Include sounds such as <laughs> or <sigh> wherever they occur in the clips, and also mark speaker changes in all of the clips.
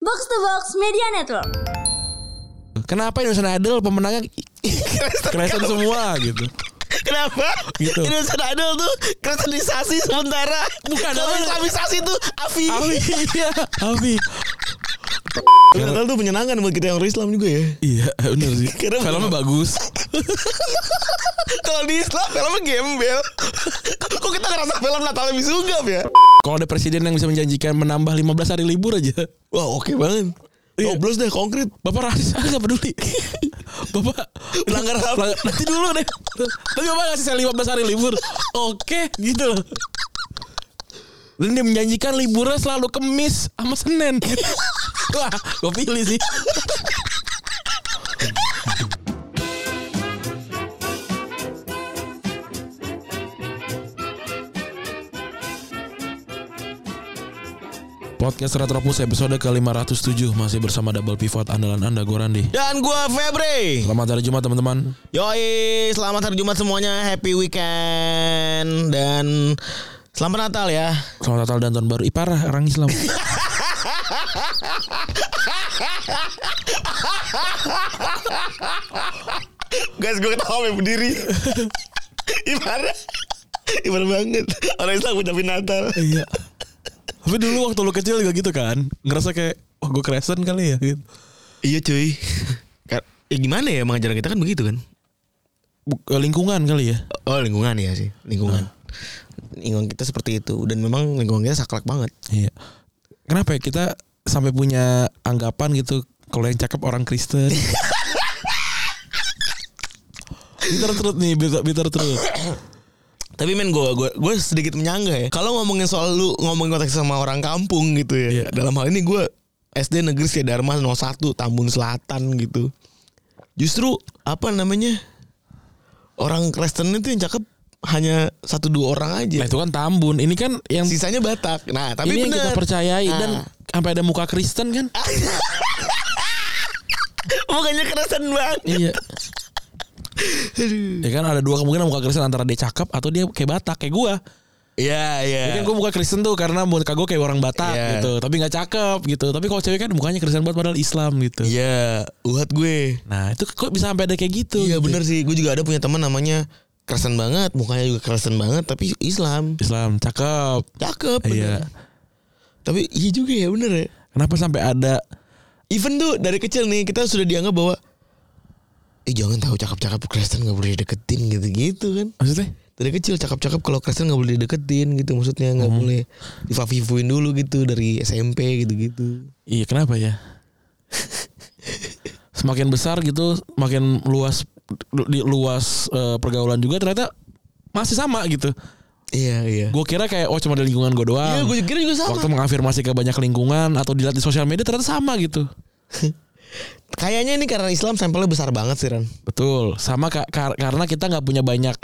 Speaker 1: Box to Box Media Network.
Speaker 2: Kenapa Indonesian Idol pemenangnya <laughs> Kristen semua gitu
Speaker 3: Kenapa?
Speaker 2: Gitu.
Speaker 3: Indonesian Idol tuh kristenisasi sementara.
Speaker 2: Bukan,
Speaker 3: Kalau
Speaker 2: apa-
Speaker 3: islamisasi tuh afi.
Speaker 2: Afi Iya Afi
Speaker 3: Natal tuh menyenangkan buat kita yang orang Islam juga ya.
Speaker 2: Iya bener sih
Speaker 3: Kira-
Speaker 2: Filmnya bagus
Speaker 3: Kalau di Islam filmnya gembel. Kok kita ngerasa film Natal lebih sunggup ya?
Speaker 2: Kalau ada presiden yang bisa menjanjikan menambah 15 hari libur aja
Speaker 3: Wah oke banget.
Speaker 2: Iya.
Speaker 3: Coblos deh konkret.
Speaker 2: Bapak <laughs> rasis ah gak peduli Bapak
Speaker 3: Pelanggar ham.
Speaker 2: pelanggar- Nanti dulu deh Tapi bapak ngasih saya 15 hari libur Oke gitu loh Dan dia menjanjikan liburnya selalu kemis sama Senin Wah gue pilih sih Podcast Retropus episode ke-507 Masih bersama Double Pivot andalan anda gue Randi
Speaker 3: Dan gua Febre.
Speaker 2: Selamat hari Jumat teman-teman
Speaker 3: Yoi, selamat hari Jumat semuanya, happy weekend dan selamat Natal ya.
Speaker 2: Selamat Natal dan Tahun Baru Ih parah orang Islam
Speaker 3: Guys, gue ketawa sampai <laughs> berdiri. Ibarat Ibarat banget Orang Islam ngucapin Natal
Speaker 2: Iya. Tapi dulu waktu lu kecil juga gitu kan, ngerasa kayak wah gue kresen kali ya gitu.
Speaker 3: Iya cuy Ya gimana ya emang ajaran kita kan begitu kan
Speaker 2: Bu- eh, Lingkungan kali ya.
Speaker 3: Oh lingkungan ya sih Lingkungan Lingkungan kita seperti itu Dan memang lingkungan kita saklek banget
Speaker 2: Iya. Kenapa ya kita sampai punya anggapan gitu kalau yang cakep orang Kristen. bitter truth nih, bitter, bitter truth.
Speaker 3: Tapi men gue gua, gua sedikit menyangga ya Kalau ngomongin soal lu Ngomongin konteks sama orang kampung gitu ya
Speaker 2: Iya.
Speaker 3: Dalam hal ini gue SD Negeri Setia Dharma 01 Tambun Selatan gitu Justru Apa namanya Orang Kristen itu yang cakep Hanya satu dua orang aja
Speaker 2: Nah, itu kan Tambun. Ini kan yang
Speaker 3: Sisanya Batak Nah tapi
Speaker 2: ini yang
Speaker 3: bener
Speaker 2: kita percayai
Speaker 3: Nah.
Speaker 2: dan sampai ada muka Kristen kan?
Speaker 3: Mukanya kerasan banget
Speaker 2: iya. Ya kan ada dua kemungkinan muka Kristen antara dia cakep atau dia kayak Batak kayak gua.
Speaker 3: Iya iya
Speaker 2: Ya kan gue muka Kristen tuh karena muka gue kayak orang Batak
Speaker 3: Iya.
Speaker 2: gitu, tapi nggak cakep gitu. Tapi kalau cewek kan mukanya Kristen banget padahal Islam gitu.
Speaker 3: Iya Uhat gue
Speaker 2: Nah itu kok bisa sampai ada kayak gitu?
Speaker 3: Iya
Speaker 2: gitu.
Speaker 3: bener sih Gue juga ada punya teman namanya Kerasan banget Mukanya juga kerasan banget Tapi Islam
Speaker 2: Islam cakep.
Speaker 3: Cakep
Speaker 2: Iya.
Speaker 3: bener. Tapi iya juga ya bener ya
Speaker 2: Kenapa sampai ada?
Speaker 3: Even tuh dari kecil nih Kita sudah dianggap bahwa Eh jangan tahu cakep-cakep Kristen gak boleh deketin gitu-gitu kan
Speaker 2: Maksudnya?
Speaker 3: Dari kecil cakep-cakep kalau Kristen gak boleh dideketin gitu Maksudnya
Speaker 2: Hmm.
Speaker 3: gak boleh Difafifuin dulu gitu Dari SMP gitu-gitu
Speaker 2: Iya kenapa ya?
Speaker 3: <laughs>
Speaker 2: semakin besar gitu, makin luas lu- di luas eh, pergaulan juga ternyata masih sama gitu.
Speaker 3: Iya iya
Speaker 2: Gue kira kayak oh cuma di lingkungan gue doang.
Speaker 3: Iya gue kira juga sama
Speaker 2: Waktu mengafirmasi ke banyak lingkungan atau dilihat di sosial media ternyata sama gitu.
Speaker 3: Kayaknya ini karena Islam sampelnya besar banget sih Ran
Speaker 2: Betul, sama ka- kar- karena kita nggak punya banyak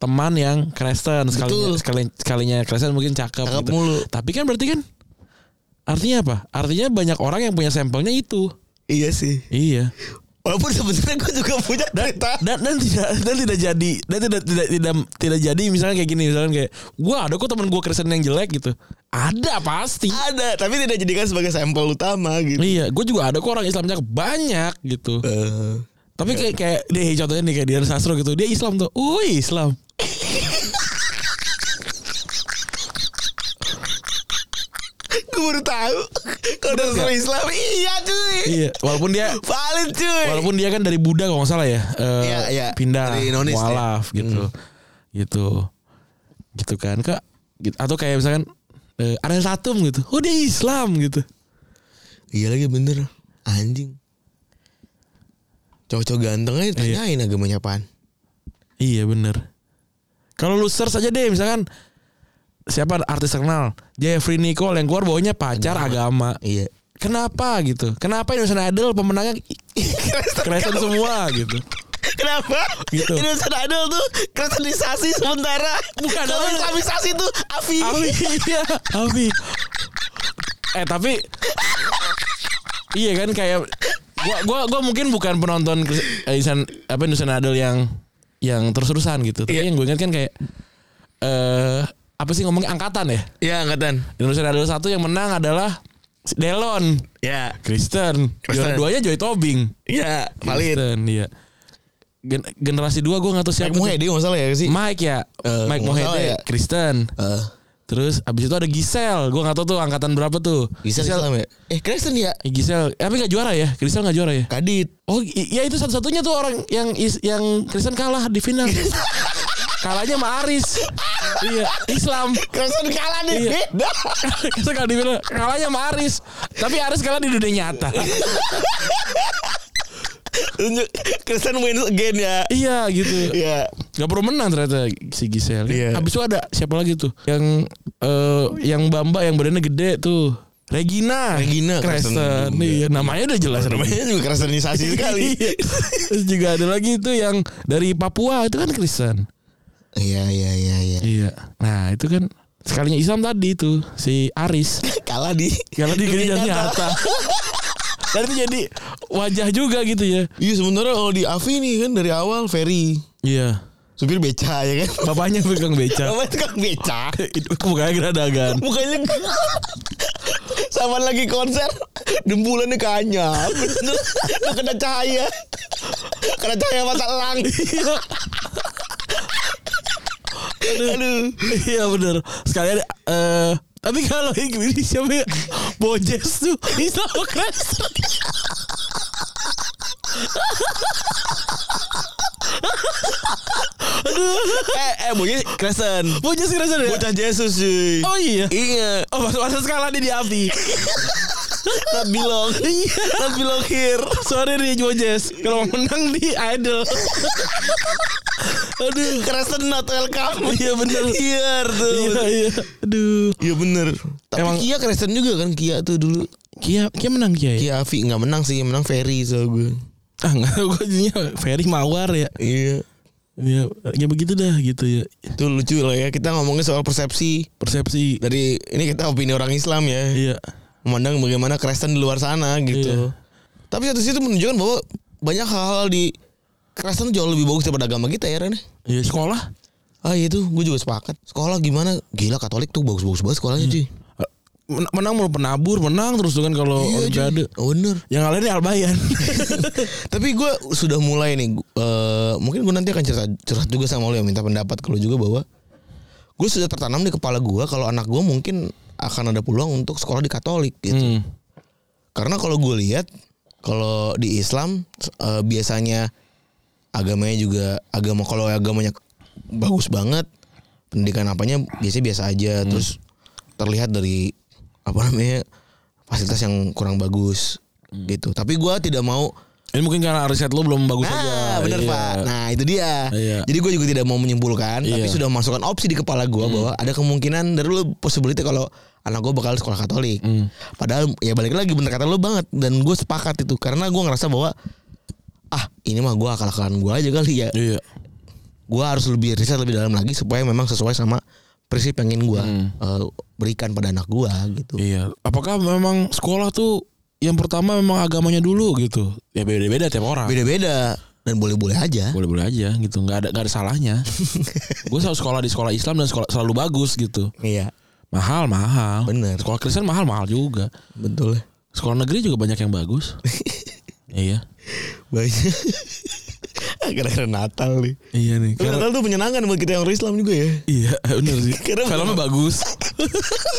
Speaker 2: teman yang Kristen sekalinya
Speaker 3: Betul.
Speaker 2: sekali sekalinya Kristen mungkin cakep,
Speaker 3: Cakep
Speaker 2: gitu.
Speaker 3: mulu.
Speaker 2: Tapi kan berarti kan artinya apa? Artinya banyak orang yang punya sampelnya itu.
Speaker 3: Iya sih
Speaker 2: Iya.
Speaker 3: Walaupun sebenarnya gue juga punya cerita
Speaker 2: Dan dan tidak dan tidak jadi dan tidak tidak tidak tidak jadi misalnya kayak gini misalnya kayak gua ada kok teman gua Kristen yang jelek gitu. Ada pasti.
Speaker 3: ada tapi tidak jadikan sebagai sampel utama gitu.
Speaker 2: Iya, gue juga ada kok orang Islamnya banyak gitu.
Speaker 3: Eh,
Speaker 2: Tapi kayak kayak deh contohnya nih kayak Dian Sastro gitu. Dia Islam tuh. Oh, Islam.
Speaker 3: gue baru tahu kalau udah sesuai Islam iya cuy.
Speaker 2: Iya, walaupun <laughs> dia
Speaker 3: Valid cuy.
Speaker 2: Walaupun dia kan dari Buddha kalau nggak salah ya, eh,
Speaker 3: Iya, iya.
Speaker 2: pindah
Speaker 3: Dari Hmm. Indonesia.
Speaker 2: mualaf gitu, gitu, gitu kan kak. Gitu. Atau kayak misalkan eh, Ariel Tatum gitu, oh dia Islam gitu.
Speaker 3: iya lagi bener anjing. Cowok-cowok ganteng aja tanyain agamanya apaan.
Speaker 2: Iya bener. Kalau lu search aja deh misalkan siapa artis terkenal Jeffrey Nicole yang keluar bawahnya pacar agama. <laughs>
Speaker 3: Iya.
Speaker 2: Kenapa gitu? Kenapa Indonesian Idol pemenangnya Kristen semua gitu?
Speaker 3: Kenapa?
Speaker 2: Gitu.
Speaker 3: Indonesian Idol tuh kristenisasi sementara.
Speaker 2: Bukan,
Speaker 3: Kalau
Speaker 2: bukan.
Speaker 3: Islamisasi tuh afi.
Speaker 2: Afi iya Afi eh tapi iya kan kayak gua gua gua mungkin bukan penonton Kris- eh, Isan apa Indonesian Idol yang yang terus-terusan gitu tapi
Speaker 3: Iya.
Speaker 2: yang gue ingat kan kayak eh apa sih ngomongnya angkatan ya
Speaker 3: Iya angkatan.
Speaker 2: Indonesian Idol satu yang menang adalah Delon,
Speaker 3: Ya,
Speaker 2: Kristen, juara
Speaker 3: Kristen.
Speaker 2: duanya Joy Tobing.
Speaker 3: ya, valid.
Speaker 2: Kristen, iya. Gen- generasi dua gue gak tau siapa.
Speaker 3: Mike Mohede nggak salah ya sih.
Speaker 2: tuh. Mike ya,
Speaker 3: Eh,
Speaker 2: Mike
Speaker 3: nggak salah
Speaker 2: Mohede,
Speaker 3: ya.
Speaker 2: Kristen.
Speaker 3: Eh,
Speaker 2: Terus abis itu ada Gisel, gue gak tau tuh angkatan berapa tuh.
Speaker 3: Gisel Islam ya. Eh, Kristen ya.
Speaker 2: Eh, Gisel, eh, tapi gak juara ya? Gisel gak juara ya?
Speaker 3: Kadit.
Speaker 2: Oh i- ya itu satu-satunya tuh orang yang is- yang Kristen kalah di final.
Speaker 3: <laughs>
Speaker 2: Kalahnya sama Aris. iya, Islam.
Speaker 3: Kristen kalah nih.
Speaker 2: Iya.
Speaker 3: Beda.
Speaker 2: Kristen kalah di final. Kalahnya sama Aris. Tapi Aris kalah di dunia nyata.
Speaker 3: <laughs> Tunjuk- Kristen wins again ya.
Speaker 2: iya gitu.
Speaker 3: Iya.
Speaker 2: Gak perlu menang ternyata si Gisel.
Speaker 3: Iya.
Speaker 2: Habis itu ada siapa lagi tuh? Yang eh, yang Bamba yang badannya gede tuh. Regina.
Speaker 3: Regina
Speaker 2: Kristen.
Speaker 3: Kristen juga.
Speaker 2: Iya, namanya udah jelas namanya.
Speaker 3: Namanya juga Kristenisasi <laughs> sekali.
Speaker 2: <laughs> Iya. Terus juga ada lagi itu yang dari Papua itu kan Kristen.
Speaker 3: Iya, iya, iya, iya.
Speaker 2: Iya. Nah itu kan sekalinya Islam tadi itu si <laughs> Aris
Speaker 3: Kalah di
Speaker 2: kalau di gereja <laughs>
Speaker 3: Dunia
Speaker 2: nyata. Dan itu jadi wajah juga gitu ya.
Speaker 3: Iya sementara kalau di Avi nih kan dari awal Ferry
Speaker 2: Iya.
Speaker 3: supir beca ya kan.
Speaker 2: Bapaknya pegang beca. <laughs>
Speaker 3: Namanya tukang beca.
Speaker 2: itu mukanya geradagan.
Speaker 3: Mukanya <laughs> sama lagi konser dembulannya kanyap. Bener. Lu kena cahaya. Kena cahaya mata elang.
Speaker 2: Iya.
Speaker 3: Aduh.
Speaker 2: Iya benar. Sekalian eh tapi kalau yang ini siapa ya? Bojes tuh Islam Kristen.
Speaker 3: Eh, eh bocah Kristen.
Speaker 2: Bojes Kristen ya?
Speaker 3: Bocah Yesus sih.
Speaker 2: Oh iya.
Speaker 3: Iya.
Speaker 2: Oh, masa-masa skala dia di Iya. api.
Speaker 3: Not belong. Not belong here.
Speaker 2: Sorry nih Bojes. Kalau menang di idol. Aduh.
Speaker 3: Kristen not welcome.
Speaker 2: Iya, bener.
Speaker 3: Here tuh.
Speaker 2: Iya iya. Aduh.
Speaker 3: Iya bener Tapi
Speaker 2: Emang-
Speaker 3: Kia Kristen juga kan Kia tuh dulu
Speaker 2: Kia Kia menang Kia ya?
Speaker 3: Kia Avi gak menang sih Menang Ferry soal gue
Speaker 2: Ah nggak <laughs> tahu gue jadinya Ferry Mawar ya.
Speaker 3: Iya
Speaker 2: Ya ya begitu dah gitu ya.
Speaker 3: Itu lucu lah ya Kita ngomongin soal persepsi
Speaker 2: Persepsi.
Speaker 3: Dari Ini kita opini orang Islam ya
Speaker 2: Iya.
Speaker 3: Memandang bagaimana Kristen di luar sana gitu Tapi satu sisi itu menunjukkan bahwa Banyak hal-hal di Kristen jauh lebih bagus daripada agama kita ya Ren
Speaker 2: Iya sekolah.
Speaker 3: Ah iya tuh gue juga sepakat Sekolah gimana Gila Katolik tuh bagus-bagus banget sekolahnya cuy
Speaker 2: Men- Menang mulu penabur, menang terus tuh kan kalau
Speaker 3: Iya, cuy.
Speaker 2: olimpiade.
Speaker 3: Oh, Bener
Speaker 2: Yang kalian ini Albayan.
Speaker 3: Tapi gue sudah mulai nih. gu- eh, mungkin gue nanti akan cerita curhat juga sama lo ya minta pendapat kalau juga bahwa gue sudah tertanam di kepala gue kalau anak gue mungkin akan ada peluang untuk sekolah di Katolik gitu.
Speaker 2: hmm.
Speaker 3: Karena kalau gue lihat kalau di Islam eh, biasanya agamanya juga agama kalau agamanya bagus banget pendidikan apanya biasanya biasa aja terus terlihat dari apa namanya fasilitas yang kurang bagus gitu. Tapi gue tidak mau
Speaker 2: <laughs> Ini mungkin karena riset lo belum bagus aja.
Speaker 3: Nah, benar
Speaker 2: Iya.
Speaker 3: Pak. Nah, itu dia.
Speaker 2: Iya.
Speaker 3: Jadi gue juga tidak mau menyimpulkan, tapi
Speaker 2: Iya. Hmm.
Speaker 3: sudah masukkan opsi di kepala gue bahwa ada kemungkinan dari lu possibility kalau anak gue bakal sekolah Katolik.
Speaker 2: Hmm.
Speaker 3: Padahal ya balik lagi bener kata lu banget dan gue sepakat itu karena gue ngerasa bahwa ah ini mah gue akal-akalan gue aja kali ya.
Speaker 2: Iya.
Speaker 3: Gue harus lebih riset lebih dalam lagi supaya memang sesuai sama prinsip yang ingin gue eh, berikan pada anak gue
Speaker 2: Hmm.
Speaker 3: gitu.
Speaker 2: Iya. Apakah memang sekolah tuh yang pertama memang agamanya dulu gitu? Ya beda-beda tiap orang.
Speaker 3: Beda-beda dan boleh-boleh aja.
Speaker 2: Boleh-boleh aja gitu. Nggak ada nggak ada
Speaker 3: <laughs>
Speaker 2: salahnya. gue selalu sekolah di sekolah Islam dan sekolah selalu bagus gitu.
Speaker 3: Iya,
Speaker 2: Mahal mahal.
Speaker 3: Bener.
Speaker 2: Sekolah Kristen mahal mahal juga.
Speaker 3: betul.
Speaker 2: Sekolah negeri juga banyak yang
Speaker 3: <laughs>
Speaker 2: bagus. iya.
Speaker 3: Banyak. <laughs> Gara-gara Natal nih.
Speaker 2: Iya nih.
Speaker 3: Tapi Natal tuh menyenangkan buat kita yang orang Islam juga ya.
Speaker 2: iya <laughs> bener sih.
Speaker 3: Karena-
Speaker 2: Filmnya bagus.
Speaker 3: <laughs>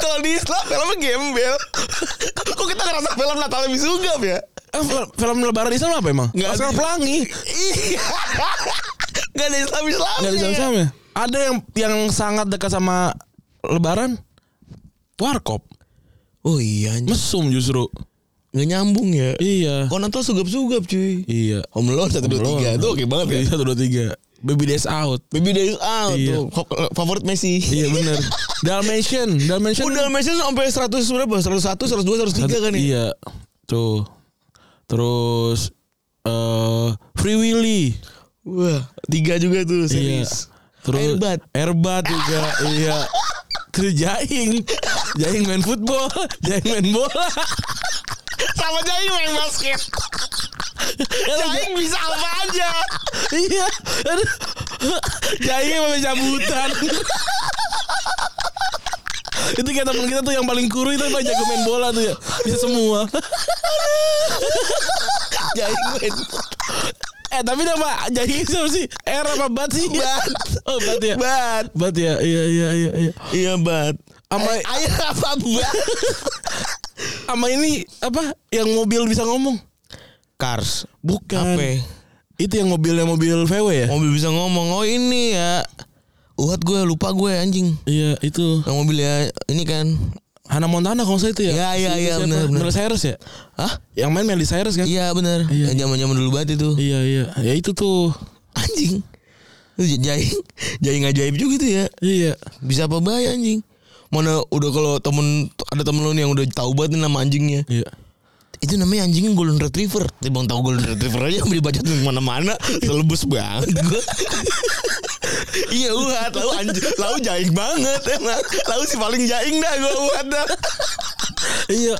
Speaker 3: Kalau di Islam filmnya gembel. <laughs> Kok kita ngerasa film Natal lebih sugap ya?
Speaker 2: Eh, film, film Lebaran Islam apa emang?
Speaker 3: Nggak
Speaker 2: Laskar
Speaker 3: ada.
Speaker 2: Pelangi.
Speaker 3: <laughs> Iya. Gak ada Islam Islam.
Speaker 2: Nggak ada Islam ya? Ada yang yang sangat dekat sama Lebaran. Warkop.
Speaker 3: Oh iya, anjir.
Speaker 2: Mesum justru.
Speaker 3: nggak nyambung ya.
Speaker 2: Iya.
Speaker 3: Kok Natal sugap-sugap cuy.
Speaker 2: Iya.
Speaker 3: Home Alone satu dua tiga itu oke banget ya.
Speaker 2: Satu dua tiga. Baby Days Out.
Speaker 3: Baby Days Out
Speaker 2: Iya.
Speaker 3: tuh fa- favorit Messi.
Speaker 2: Iya
Speaker 3: <laughs>
Speaker 2: bener Dalmatian Dalmatian
Speaker 3: Udah Messi sampai 100 berapa? 101, 102, 103 kan ya?
Speaker 2: Iya Tuh Terus eh Free Willy
Speaker 3: Wah, tiga juga tuh series.
Speaker 2: Iya. Terus
Speaker 3: Airbat.
Speaker 2: Airbat juga Iya Terus Jaing Jaing main football Jaing main bola
Speaker 3: Sama Jaim main basket. Jaim bisa apa aja.
Speaker 2: Iya Aduh. Jaing main cabutan itu kayak teman kita tuh yang paling kuru itu Pak jago main bola tuh ya. Bisa semua.
Speaker 3: Jaim
Speaker 2: Eh tapi nama jadi siapa sih? R apa bat sih?
Speaker 3: Bat.
Speaker 2: Oh bat ya.
Speaker 3: Bat.
Speaker 2: Bat ya. Iya iya iya iya.
Speaker 3: Iya bat.
Speaker 2: Sama
Speaker 3: Ayo apa bat?
Speaker 2: sama ini apa yang mobil bisa ngomong?
Speaker 3: Cars.
Speaker 2: Bukan.
Speaker 3: Apa?
Speaker 2: Itu yang mobilnya mobil VW ya?
Speaker 3: Mobil bisa ngomong. Oh ini ya. Uhat gue lupa gue anjing.
Speaker 2: Iya itu
Speaker 3: Yang mobilnya ini kan.
Speaker 2: Hannah Montana kalau nggak salah itu ya.
Speaker 3: Iya, iya,
Speaker 2: Si-
Speaker 3: iya,
Speaker 2: siapa?
Speaker 3: benar, benar.
Speaker 2: Miley Cyrus ya?
Speaker 3: Hah?
Speaker 2: Yang main Miley Cyrus kan?
Speaker 3: Iya benar.
Speaker 2: Iya.
Speaker 3: Yang zaman-zaman dulu banget itu.
Speaker 2: Iya iya. Ya itu tuh.
Speaker 3: Anjing. Itu j- Jaing, jaing ajaib juga tuh ya.
Speaker 2: Iya.
Speaker 3: Bisa apa bahaya anjing. Mana udah kalau temen ada temen lu nih yang udah tahu banget nih nama anjingnya.
Speaker 2: Iya.
Speaker 3: Itu namanya anjingnya golden retriever. Timbang tahu golden retriever aja beli bacot di mana-mana, selebus banget gua. <laughs> iya uhat, lau anjing, lau jaing banget emang. Lau sih paling jaing dah gua uhat dah.
Speaker 2: iya.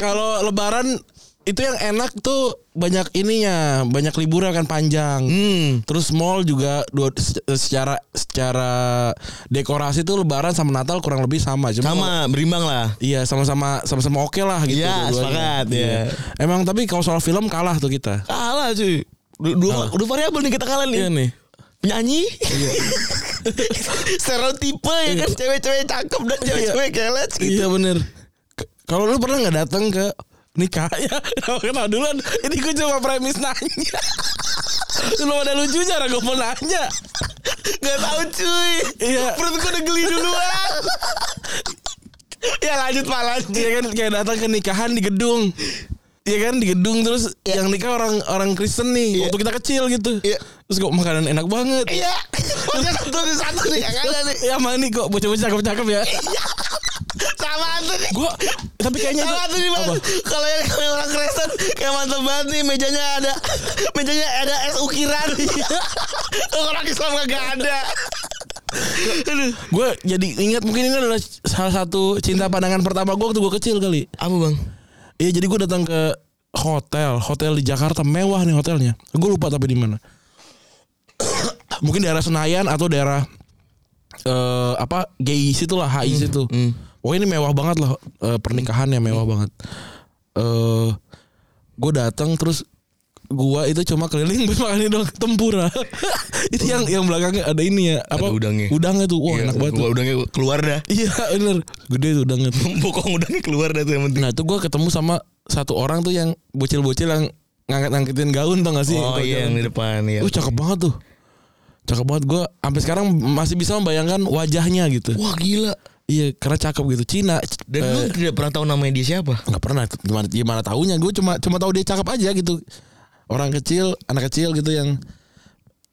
Speaker 2: Kalau lebaran itu yang enak tuh banyak ininya, banyak liburan kan panjang.
Speaker 3: Hmm.
Speaker 2: Terus mall juga dua, se- secara secara dekorasi tuh lebaran sama Natal kurang lebih sama. Cuma
Speaker 3: Sama berimbang lah.
Speaker 2: Iya sama-sama sama-sama oke lah gitu.
Speaker 3: Iya,
Speaker 2: dua-duanya.
Speaker 3: sepakat, iya.
Speaker 2: Emang tapi kalau soal film kalah tuh kita.
Speaker 3: Kalah cuy. Dua, dua, dua variabel nih kita kalah nih.
Speaker 2: Iya nih.
Speaker 3: penyanyi <laughs> stereotipe ya kan cewek-cewek cakep dan cewek-cewek keles gitu
Speaker 2: Iya bener. K- Kalau lu pernah nggak datang ke nikah
Speaker 3: Iya.
Speaker 2: ya? Kenapa kenal duluan? Ini gue cuma premis nanya. <laughs> Lu ada lucunya, orang gue mau nanya.
Speaker 3: nggak tahu cuy
Speaker 2: Iya.
Speaker 3: perut gue udah geli duluan ya lanjut pak lanjut
Speaker 2: Iya kan kayak datang ke nikahan di gedung. Iya kan di gedung terus yang nikah orang orang Kristen nih.
Speaker 3: Iya.
Speaker 2: Waktu kita kecil gitu.
Speaker 3: Iya.
Speaker 2: Terus kok makanan enak banget.
Speaker 3: iya Pokoknya satu di satu nih kan? yang kalah nih Iya.
Speaker 2: Ya mana nih kok bocah-bocah cakep-cakep ya.
Speaker 3: sama tuh nih
Speaker 2: Gua tapi kayaknya itu
Speaker 3: sama tuh nih Bang.
Speaker 2: apa?
Speaker 3: kalau yang kalau yang orang Kristen kayak mantep banget nih mejanya ada mejanya ada es ukiran Kalau orang Islam kagak ada Aduh.
Speaker 2: Gue jadi ingat mungkin ini adalah salah satu cinta pandangan pertama gue waktu gue kecil kali.
Speaker 3: apa bang
Speaker 2: Iya jadi gue datang ke hotel, hotel di Jakarta mewah nih hotelnya. Gue lupa tapi di mana. <coughs> Mungkin daerah Senayan atau daerah eh apa GI situ lah, HI
Speaker 3: Hmm,
Speaker 2: situ. Wah ini mewah banget lah eh, pernikahannya mewah
Speaker 3: Hmm.
Speaker 2: banget. Eh gue datang terus gua itu cuma keliling <laughs> beli makan ini dong tempura <laughs> itu yang yang belakangnya ada ini ya apa
Speaker 3: Ada udangnya.
Speaker 2: udangnya tuh wah
Speaker 3: Iya,
Speaker 2: enak banget tuh.
Speaker 3: gua udangnya keluar dah <laughs>
Speaker 2: iya bener gede tuh udangnya tuh.
Speaker 3: bokong udangnya keluar dah tuh yang penting.
Speaker 2: Nah itu gue ketemu sama satu orang tuh yang bocil-bocil yang ngangkat-ngangkitin gaun tau gak sih? Kalau
Speaker 3: Oh iya
Speaker 2: jalan.
Speaker 3: yang di depan ya.
Speaker 2: Wih, cakep banget tuh. Cakep banget gue sampai sekarang masih bisa membayangkan wajahnya gitu.
Speaker 3: Wah gila.
Speaker 2: Iya karena cakep gitu. Cina. c-
Speaker 3: Dan
Speaker 2: eh,
Speaker 3: lu tidak pernah tahu namanya dia siapa?
Speaker 2: nggak pernah gimana gimana tahunya gue cuma cuma tahu dia cakep aja gitu orang kecil anak kecil gitu yang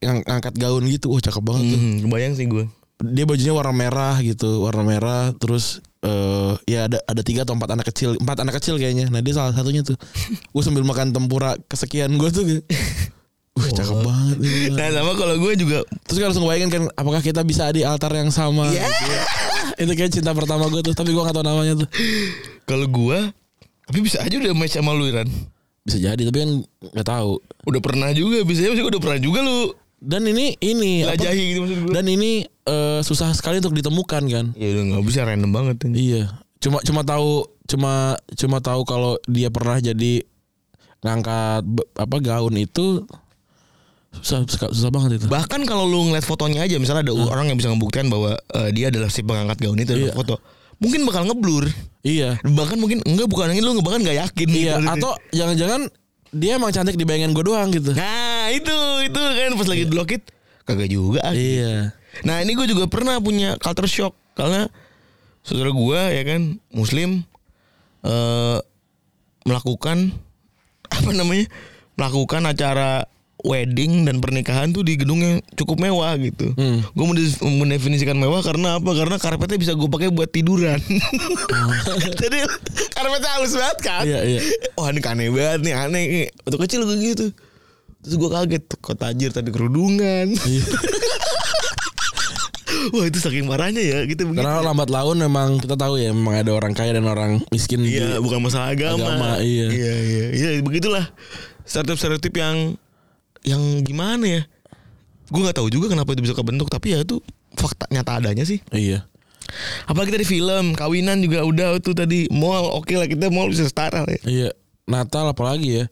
Speaker 2: yang angkat gaun gitu wah cakep banget tuh
Speaker 3: Hmm, kebayang sih gue.
Speaker 2: dia bajunya warna merah gitu warna merah terus eh ya ada ada tiga atau empat anak kecil empat anak kecil kayaknya nah dia salah satunya tuh gue sambil makan tempura kesekian gue tuh kayak, wah cakep banget gila."
Speaker 3: Nah sama kalau gue juga
Speaker 2: terus gue langsung bayangin kan apakah kita bisa di altar yang sama
Speaker 3: Ya.
Speaker 2: itu kayak cinta pertama gue tuh tapi gue gak tau namanya tuh
Speaker 3: kalau gue tapi bisa aja udah match sama lu Iran.
Speaker 2: bisa jadi tapi kan nggak tahu
Speaker 3: Udah pernah juga bisa aja udah pernah juga lu
Speaker 2: dan ini ini apa?
Speaker 3: lajahi gitu maksud gue.
Speaker 2: dan ini eh, susah sekali untuk ditemukan kan
Speaker 3: Ya udah nggak bisa random banget. anjing.
Speaker 2: Iya, cuma cuma tahu cuma cuma tahu kalau dia pernah jadi ngangkat be- apa gaun itu susah susah, susah banget itu.
Speaker 3: Bahkan kalau lu ngeliat fotonya aja misalnya ada orang yang bisa membuktikan bahwa eh, dia adalah si pengangkat gaun itu dalam
Speaker 2: Iya.
Speaker 3: foto. Mungkin bakal ngeblur.
Speaker 2: iya.
Speaker 3: Bahkan mungkin enggak bukan angin lu bahkan nggak yakin gitu
Speaker 2: Iya,
Speaker 3: maksudnya.
Speaker 2: atau jangan-jangan dia emang cantik di bayangan gue doang gitu.
Speaker 3: Nah itu itu kan pas lagi diblokit kagak juga. ah.
Speaker 2: Iya.
Speaker 3: Nah ini gue juga pernah punya culture shock karena saudara gue ya kan muslim eh melakukan <laughs> apa namanya melakukan acara wedding dan pernikahan tuh di gedung yang cukup mewah gitu.
Speaker 2: Hmm.
Speaker 3: Gue mendefinisikan mewah karena apa? Karena karpetnya bisa gue pakai buat tiduran. <laughs> Jadi karpetnya halus banget kan.
Speaker 2: Hmm. Iya, iya.
Speaker 3: Wah ini aneh banget nih aneh. Waktu kecil gue gitu. Terus gue kaget kok tajir tadi kerudungan.
Speaker 2: Iya.
Speaker 3: <laughs> Wah itu saking marahnya ya gitu begitu.
Speaker 2: Karena lambat laun memang kita tahu ya memang ada orang kaya dan orang miskin
Speaker 3: Iya,
Speaker 2: di-
Speaker 3: bukan masalah agama.
Speaker 2: Agama, iya.
Speaker 3: iya, iya, iya, begitulah. Stereotip-stereotip yang yang gimana ya? Gue nggak tahu juga kenapa itu bisa kebentuk, tapi ya itu fakta nyata adanya sih.
Speaker 2: Iya.
Speaker 3: Apalagi tadi film, kawinan juga udah tuh tadi mall oke lah kita mall bisa setara lah ya.
Speaker 2: Iya. Natal apalagi ya.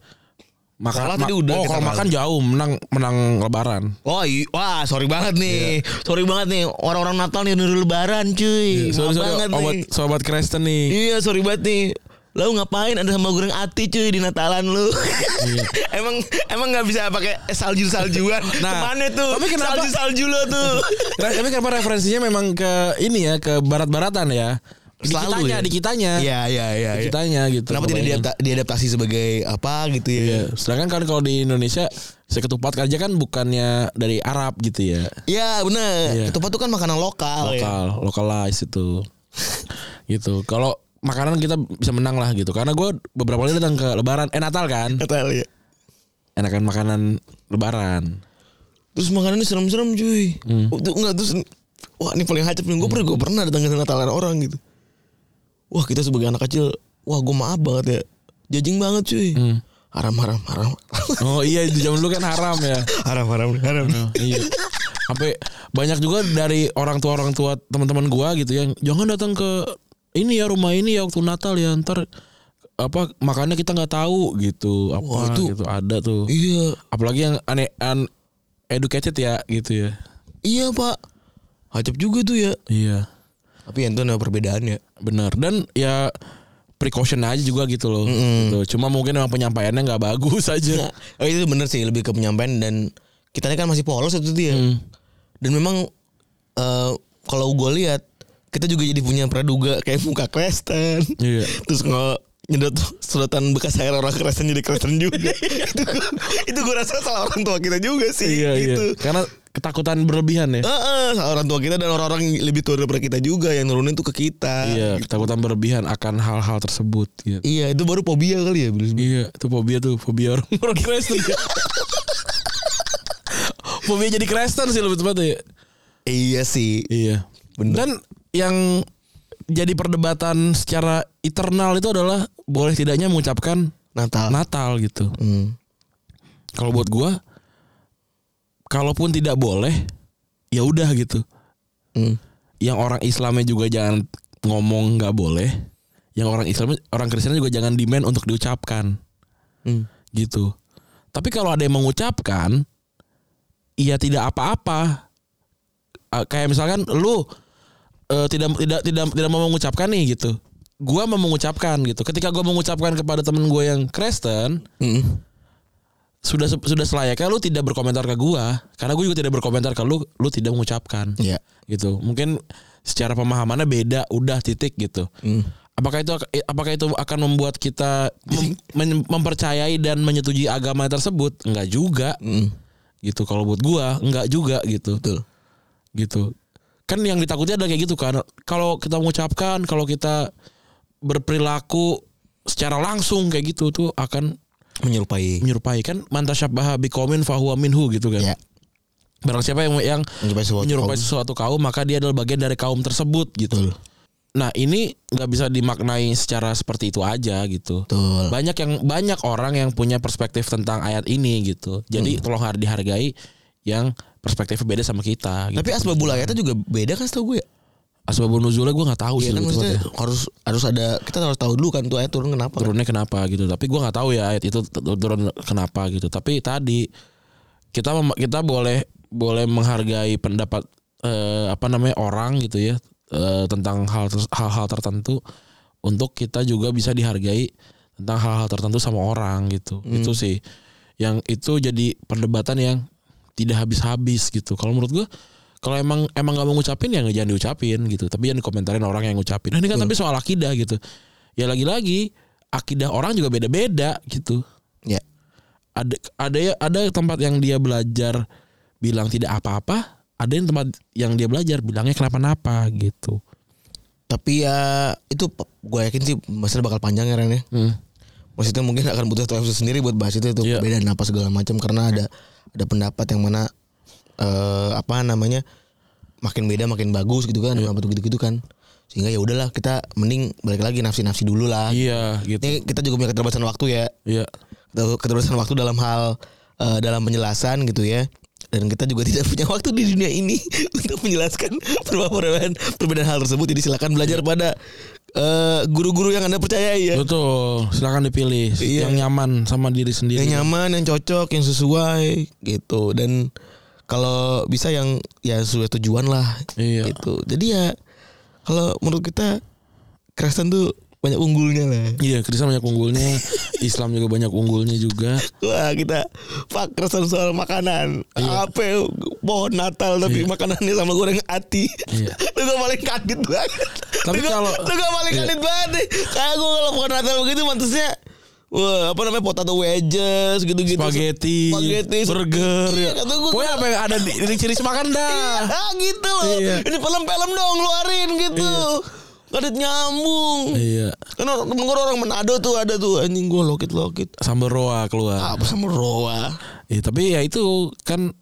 Speaker 3: Sekolah
Speaker 2: Makan
Speaker 3: tadi udah
Speaker 2: Oh,
Speaker 3: kita
Speaker 2: kalau
Speaker 3: bahas.
Speaker 2: makan jauh menang menang lebaran.
Speaker 3: Wah, i- wah, sorry banget nih,
Speaker 2: Iya.
Speaker 3: sorry banget nih orang-orang Natal nih nurul Lebaran cuy, Maaf
Speaker 2: Sorry, sorry,
Speaker 3: banget
Speaker 2: obat,
Speaker 3: nih.
Speaker 2: sobat Kristen nih.
Speaker 3: Iya sorry banget nih Lo ngapain ada sambal goreng ati cuy di Natalan lu
Speaker 2: Iya.
Speaker 3: <laughs> Emang emang gak bisa pakai salju-saljuan
Speaker 2: <laughs> Nah,
Speaker 3: Kemana tuh
Speaker 2: tapi kenapa-
Speaker 3: Salju-salju lo tuh
Speaker 2: <laughs> Nah, Tapi kenapa referensinya memang ke ini ya ke barat-baratan ya?
Speaker 3: Selalu
Speaker 2: Dikitanya,
Speaker 3: ya?
Speaker 2: dikitanya.
Speaker 3: Iya iya iya iya.
Speaker 2: Dikitanya gitu.
Speaker 3: Kenapa tidak
Speaker 2: kebanyakan.
Speaker 3: diadap- diadaptasi sebagai apa gitu ya
Speaker 2: Iya. Sedangkan kan kalau di Indonesia si ketupat aja kan bukannya dari Arab gitu ya.
Speaker 3: Iya bener
Speaker 2: Iya.
Speaker 3: Ketupat tuh kan makanan lokal, ya.
Speaker 2: Lokal, localize itu. <laughs> gitu. Kalau makanan kita bisa menang lah gitu. Karena gue beberapa kali datang ke Lebaran, eh Natal kan,
Speaker 3: Natal ya
Speaker 2: enakan makanan Lebaran.
Speaker 3: Terus makanannya serem-serem cuy Oh, Tuh enggak terus Wah ini paling hacep nih Gue pernah, gua pernah datang ke Natalan orang gitu Wah kita sebagai anak kecil Wah gue maaf banget ya Jajing banget cuy Haram haram haram
Speaker 2: Oh iya, di zaman dulu kan haram ya.
Speaker 3: <laughs> haram haram haram
Speaker 2: iya. Sampai banyak juga dari orang tua orang tua teman-teman gua gitu yang jangan datang ke ini ya rumah ini ya waktu Natal ya ntar apa makannya kita nggak tahu gitu apa
Speaker 3: Wah, itu-
Speaker 2: gitu ada tuh
Speaker 3: iya
Speaker 2: apalagi yang aneh an educated ya gitu ya
Speaker 3: iya pak hajab juga tuh ya
Speaker 2: iya
Speaker 3: tapi itu ada perbedaannya
Speaker 2: benar dan ya precaution aja juga gitu loh gitu. cuma mungkin emang penyampaiannya nggak bagus aja
Speaker 3: oh, itu bener sih lebih ke penyampaian dan kita ini kan masih polos itu dia
Speaker 2: Hmm.
Speaker 3: dan memang eh, kalau gue lihat kita juga jadi punya praduga kayak muka Kristen
Speaker 2: Iya.
Speaker 3: terus nge nyedot sedotan bekas air orang Kristen jadi Kristen
Speaker 2: <laughs>
Speaker 3: juga
Speaker 2: Iya.
Speaker 3: itu gua- itu gue rasa salah orang tua kita juga sih gitu
Speaker 2: iya. karena ketakutan berlebihan ya
Speaker 3: Heeh, salah orang tua kita dan orang-orang yang lebih tua daripada kita juga yang nurunin tuh ke kita. Gitu.
Speaker 2: iya ketakutan berlebihan akan hal-hal tersebut gitu
Speaker 3: Iya itu baru fobia kali ya
Speaker 2: Iya, itu fobia tuh, fobia orang <laughs> orang Kristen. ya. fobia jadi Kristen sih lebih tepatnya. ya.
Speaker 3: <laughs> Iya sih
Speaker 2: Iya.
Speaker 3: Bener.
Speaker 2: Dan yang jadi perdebatan secara internal itu adalah boleh tidaknya mengucapkan
Speaker 3: Natal
Speaker 2: Natal gitu.
Speaker 3: Hmm.
Speaker 2: Kalau buat gua kalaupun tidak boleh ya udah gitu.
Speaker 3: Hmm.
Speaker 2: Yang orang Islamnya juga jangan ngomong nggak boleh. Yang orang Islam orang Kristen juga jangan demand untuk diucapkan.
Speaker 3: Hmm.
Speaker 2: gitu. Tapi kalau ada yang mengucapkan, ya tidak apa-apa. Eh, Kayak misalkan lu eh, tidak tidak tidak tidak mau mengucapkan nih gitu. Gua mau mengucapkan gitu. Ketika gua mengucapkan kepada temen gue yang Kristen,
Speaker 3: Hmm.
Speaker 2: sudah sudah selayaknya lu tidak berkomentar ke gua karena gue juga tidak berkomentar ke lu, lu tidak mengucapkan
Speaker 3: Iya
Speaker 2: gitu. Mungkin secara pemahamannya beda, udah titik gitu.
Speaker 3: Hmm.
Speaker 2: Apakah itu apakah itu akan membuat kita mem- men- mempercayai dan menyetujui agama tersebut? Enggak juga
Speaker 3: Hmm.
Speaker 2: gitu kalau buat gua enggak juga gitu.
Speaker 3: Betul
Speaker 2: Gitu. Kan yang ditakuti adalah kayak gitu kan. Kalau kita mengucapkan, kalau kita berperilaku secara langsung kayak gitu tuh akan
Speaker 3: Menyerupai
Speaker 2: menyerupai kan mantasyabaha biqaumin fahuwa minhu gitu kan.
Speaker 3: Iya.
Speaker 2: Barang siapa yang yang
Speaker 3: Menyerupai sesuatu
Speaker 2: menyerupai sesuatu kaum maka dia adalah bagian dari kaum tersebut gitu.
Speaker 3: Betul
Speaker 2: Nah ini nggak bisa dimaknai secara seperti itu aja gitu.
Speaker 3: Betul
Speaker 2: Banyak yang banyak orang yang punya perspektif tentang ayat ini gitu.
Speaker 3: Hmm.
Speaker 2: Jadi tolong har- dihargai yang perspektifnya beda sama kita. Gitu.
Speaker 3: Tapi asbabul ayatnya juga beda kan setahu gue ya
Speaker 2: Asbabun nuzulnya gue nggak tahu sih.
Speaker 3: Iya kan
Speaker 2: gitu
Speaker 3: maksudnya
Speaker 2: tepatnya.
Speaker 3: harus harus ada kita harus tahu dulu kan tuh ayat turun kenapa kan?
Speaker 2: Turunnya kenapa gitu. Tapi gue nggak tahu ya ayat itu t- turun kenapa gitu. Tapi tadi kita mem- kita boleh boleh menghargai pendapat eh, apa namanya orang gitu ya eh, tentang hal ter- hal-hal tertentu untuk kita juga bisa dihargai tentang hal-hal tertentu sama orang gitu itu sih yang itu jadi perdebatan yang tidak habis-habis gitu kalau menurut gua kalau emang emang nggak mau ngucapin ya nggak jangan diucapin gitu tapi jangan dikomentarin orang yang ngucapin nah, ini kan tapi soal akidah gitu ya lagi-lagi akidah orang juga beda-beda gitu
Speaker 3: Ya
Speaker 2: ada ada ya- ada tempat yang dia belajar bilang tidak apa-apa ada yang tempat yang dia belajar bilangnya kenapa-napa gitu
Speaker 3: Tapi ya itu pe- gue yakin sih masalah bakal panjang ya Ren ya
Speaker 2: hmm.
Speaker 3: Maksudnya mungkin akan butuh satu episode sendiri buat bahas itu tuh
Speaker 2: Iya.
Speaker 3: perbedaan apa segala macam karena ada ada pendapat yang mana eh apa namanya makin beda makin bagus gitu
Speaker 2: Iya.
Speaker 3: kan pendapat gitu-gitu kan sehingga ya udahlah kita mending balik lagi nafsi-nafsi dulu lah.
Speaker 2: iya gitu
Speaker 3: Ini kita juga punya keterbatasan waktu ya
Speaker 2: iya
Speaker 3: keterbatasan waktu dalam hal eh, dalam penjelasan gitu ya dan kita juga <laughs> tidak punya waktu di dunia ini <laughs> untuk menjelaskan perbedaan perbedaan hal tersebut jadi silakan belajar pada eh, guru-guru yang anda percayai ya
Speaker 2: Betul, silakan dipilih
Speaker 3: Iya.
Speaker 2: yang nyaman sama diri
Speaker 3: yang
Speaker 2: sendiri.
Speaker 3: nyaman yang cocok yang sesuai gitu dan kalau bisa yang ya sesuai tujuan lah
Speaker 2: Iya.
Speaker 3: gitu jadi ya kalau menurut kita Kristen tuh banyak unggulnya lah
Speaker 2: Iya, Kristen banyak
Speaker 3: <laughs>
Speaker 2: unggulnya, Islam juga banyak unggulnya juga.
Speaker 3: Wah kita Pak Kristen soal makanan
Speaker 2: Iya.
Speaker 3: Apa ya? Pohon Natal Tapi makanannya sama goreng ati
Speaker 2: Iya.
Speaker 3: <laughs> Lu gak paling kaget banget
Speaker 2: Tapi
Speaker 3: Lu gak-
Speaker 2: kalau-
Speaker 3: Lu gak paling
Speaker 2: Iya.
Speaker 3: kaget banget nih Kayak gue kalau pohon Natal begitu Mantasnya Wah apa namanya Potato wedges Gitu-gitu
Speaker 2: Spaghetti,
Speaker 3: Spaghetti
Speaker 2: burger,
Speaker 3: Iya,
Speaker 2: ya.
Speaker 3: kata gua-
Speaker 2: Pokoknya apa yang ada di di ciri makan dah.
Speaker 3: Ah gitu loh
Speaker 2: Iya.
Speaker 3: Ini film-film dong Luarin gitu Kadet nyambung
Speaker 2: Iya.
Speaker 3: Kan orang, temen gua orang Manado tuh ada tuh Anjing gue lokit-lokit
Speaker 2: Sambal roa keluar.
Speaker 3: Apa sama roa
Speaker 2: Iya, tapi ya itu kan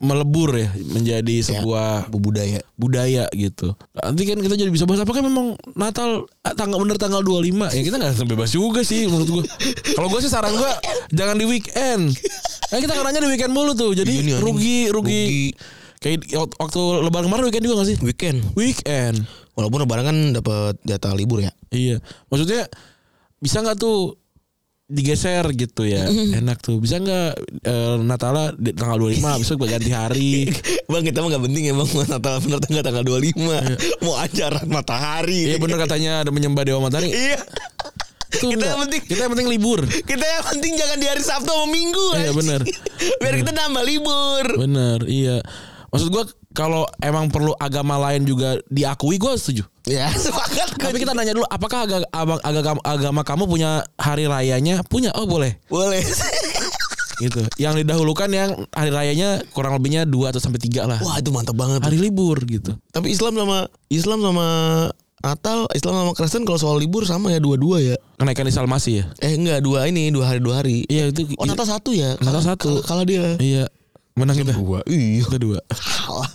Speaker 2: melebur ya menjadi sebuah
Speaker 3: Iya, Budaya
Speaker 2: budaya gitu. Nanti kan kita jadi bisa bahas apakah memang Natal ah, tanggal bener tanggal 25 ya kita nggak bebas juga sih menurut gua. Kalau gua sih saran gua jangan di weekend. Kan kita nanya di weekend mulu tuh. Jadi
Speaker 3: Iya nih, anjing.
Speaker 2: rugi, rugi
Speaker 3: Rugi.
Speaker 2: Kayak di- wak- waktu lebaran kemarin weekend juga gak sih?
Speaker 3: Weekend
Speaker 2: Weekend.
Speaker 3: Walaupun lebaran kan dapat jatah
Speaker 2: <laughs>
Speaker 3: libur ya.
Speaker 2: Iya. Maksudnya bisa nggak tuh digeser gitu ya enak tuh bisa nggak eh, Natala di tanggal 25 besok gua ganti hari
Speaker 3: <laughs> Bang kita mah gak penting ya bang Natal bener tanggal tanggal 25 <laughs> Mau ajaran matahari
Speaker 2: iya bener katanya ada menyembah dewa matahari
Speaker 3: Iya
Speaker 2: itu
Speaker 3: Kita
Speaker 2: nggak.
Speaker 3: yang penting-
Speaker 2: kita yang penting libur
Speaker 3: Kita yang penting jangan di hari Sabtu sama Minggu
Speaker 2: Iya,
Speaker 3: anjing.
Speaker 2: bener.
Speaker 3: <laughs> Biar kita nambah libur
Speaker 2: Bener, iya. Maksud gua kalau emang perlu agama lain juga diakui gua setuju.
Speaker 3: Ya sepakat gue.
Speaker 2: Tapi kita nanya dulu, apakah aga- abang- agama, agama kamu punya hari rayanya? Punya, oh boleh.
Speaker 3: <laughs> Boleh <laughs>
Speaker 2: Gitu. Yang didahulukan yang hari rayanya kurang lebihnya dua atau sampai tiga lah.
Speaker 3: Wah itu mantap banget
Speaker 2: Hari libur gitu.
Speaker 3: Tapi Islam sama Islam sama Natal Islam sama Kristen kalau soal libur sama ya dua-dua ya
Speaker 2: Kenaikan Islam masih ya?
Speaker 3: Eh enggak dua ini dua hari dua hari
Speaker 2: Iya itu.
Speaker 3: Oh Natal satu ya
Speaker 2: Natal
Speaker 3: Kalah-
Speaker 2: satu.
Speaker 3: kalah- Kalah dia <laughs>
Speaker 2: Iya. Menang kita.
Speaker 3: Dua Iya
Speaker 2: Kedua.
Speaker 3: Kalah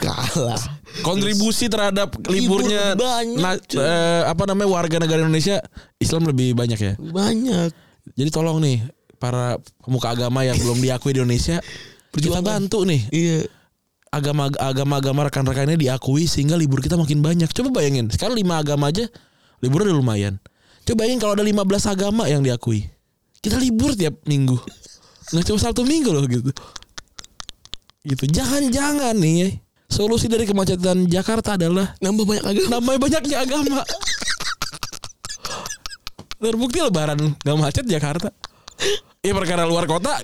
Speaker 3: Kalah
Speaker 2: Kontribusi terhadap
Speaker 3: Libur
Speaker 2: liburnya
Speaker 3: banyak,
Speaker 2: na-
Speaker 3: cuy.
Speaker 2: eh, apa namanya warga negara Indonesia Islam lebih banyak ya.
Speaker 3: banyak
Speaker 2: Jadi tolong nih para pemuka agama yang belum diakui di Indonesia, kita
Speaker 3: Perjuangkan.
Speaker 2: bantu nih
Speaker 3: iya
Speaker 2: agama agama agama rekan-rekannya diakui sehingga libur kita makin banyak. Coba bayangin, sekarang lima agama aja libur udah lumayan. Coba bayangin kalau ada 15 agama yang diakui. Kita libur tiap minggu. Nggak cuma Sabtu Minggu loh gitu. Gitu. Jangan-jangan nih solusi dari kemacetan Jakarta adalah
Speaker 3: nambah banyak agama
Speaker 2: namanya banyaknya agama. Terbukti lebaran gak macet Jakarta. Ya perkara luar kota.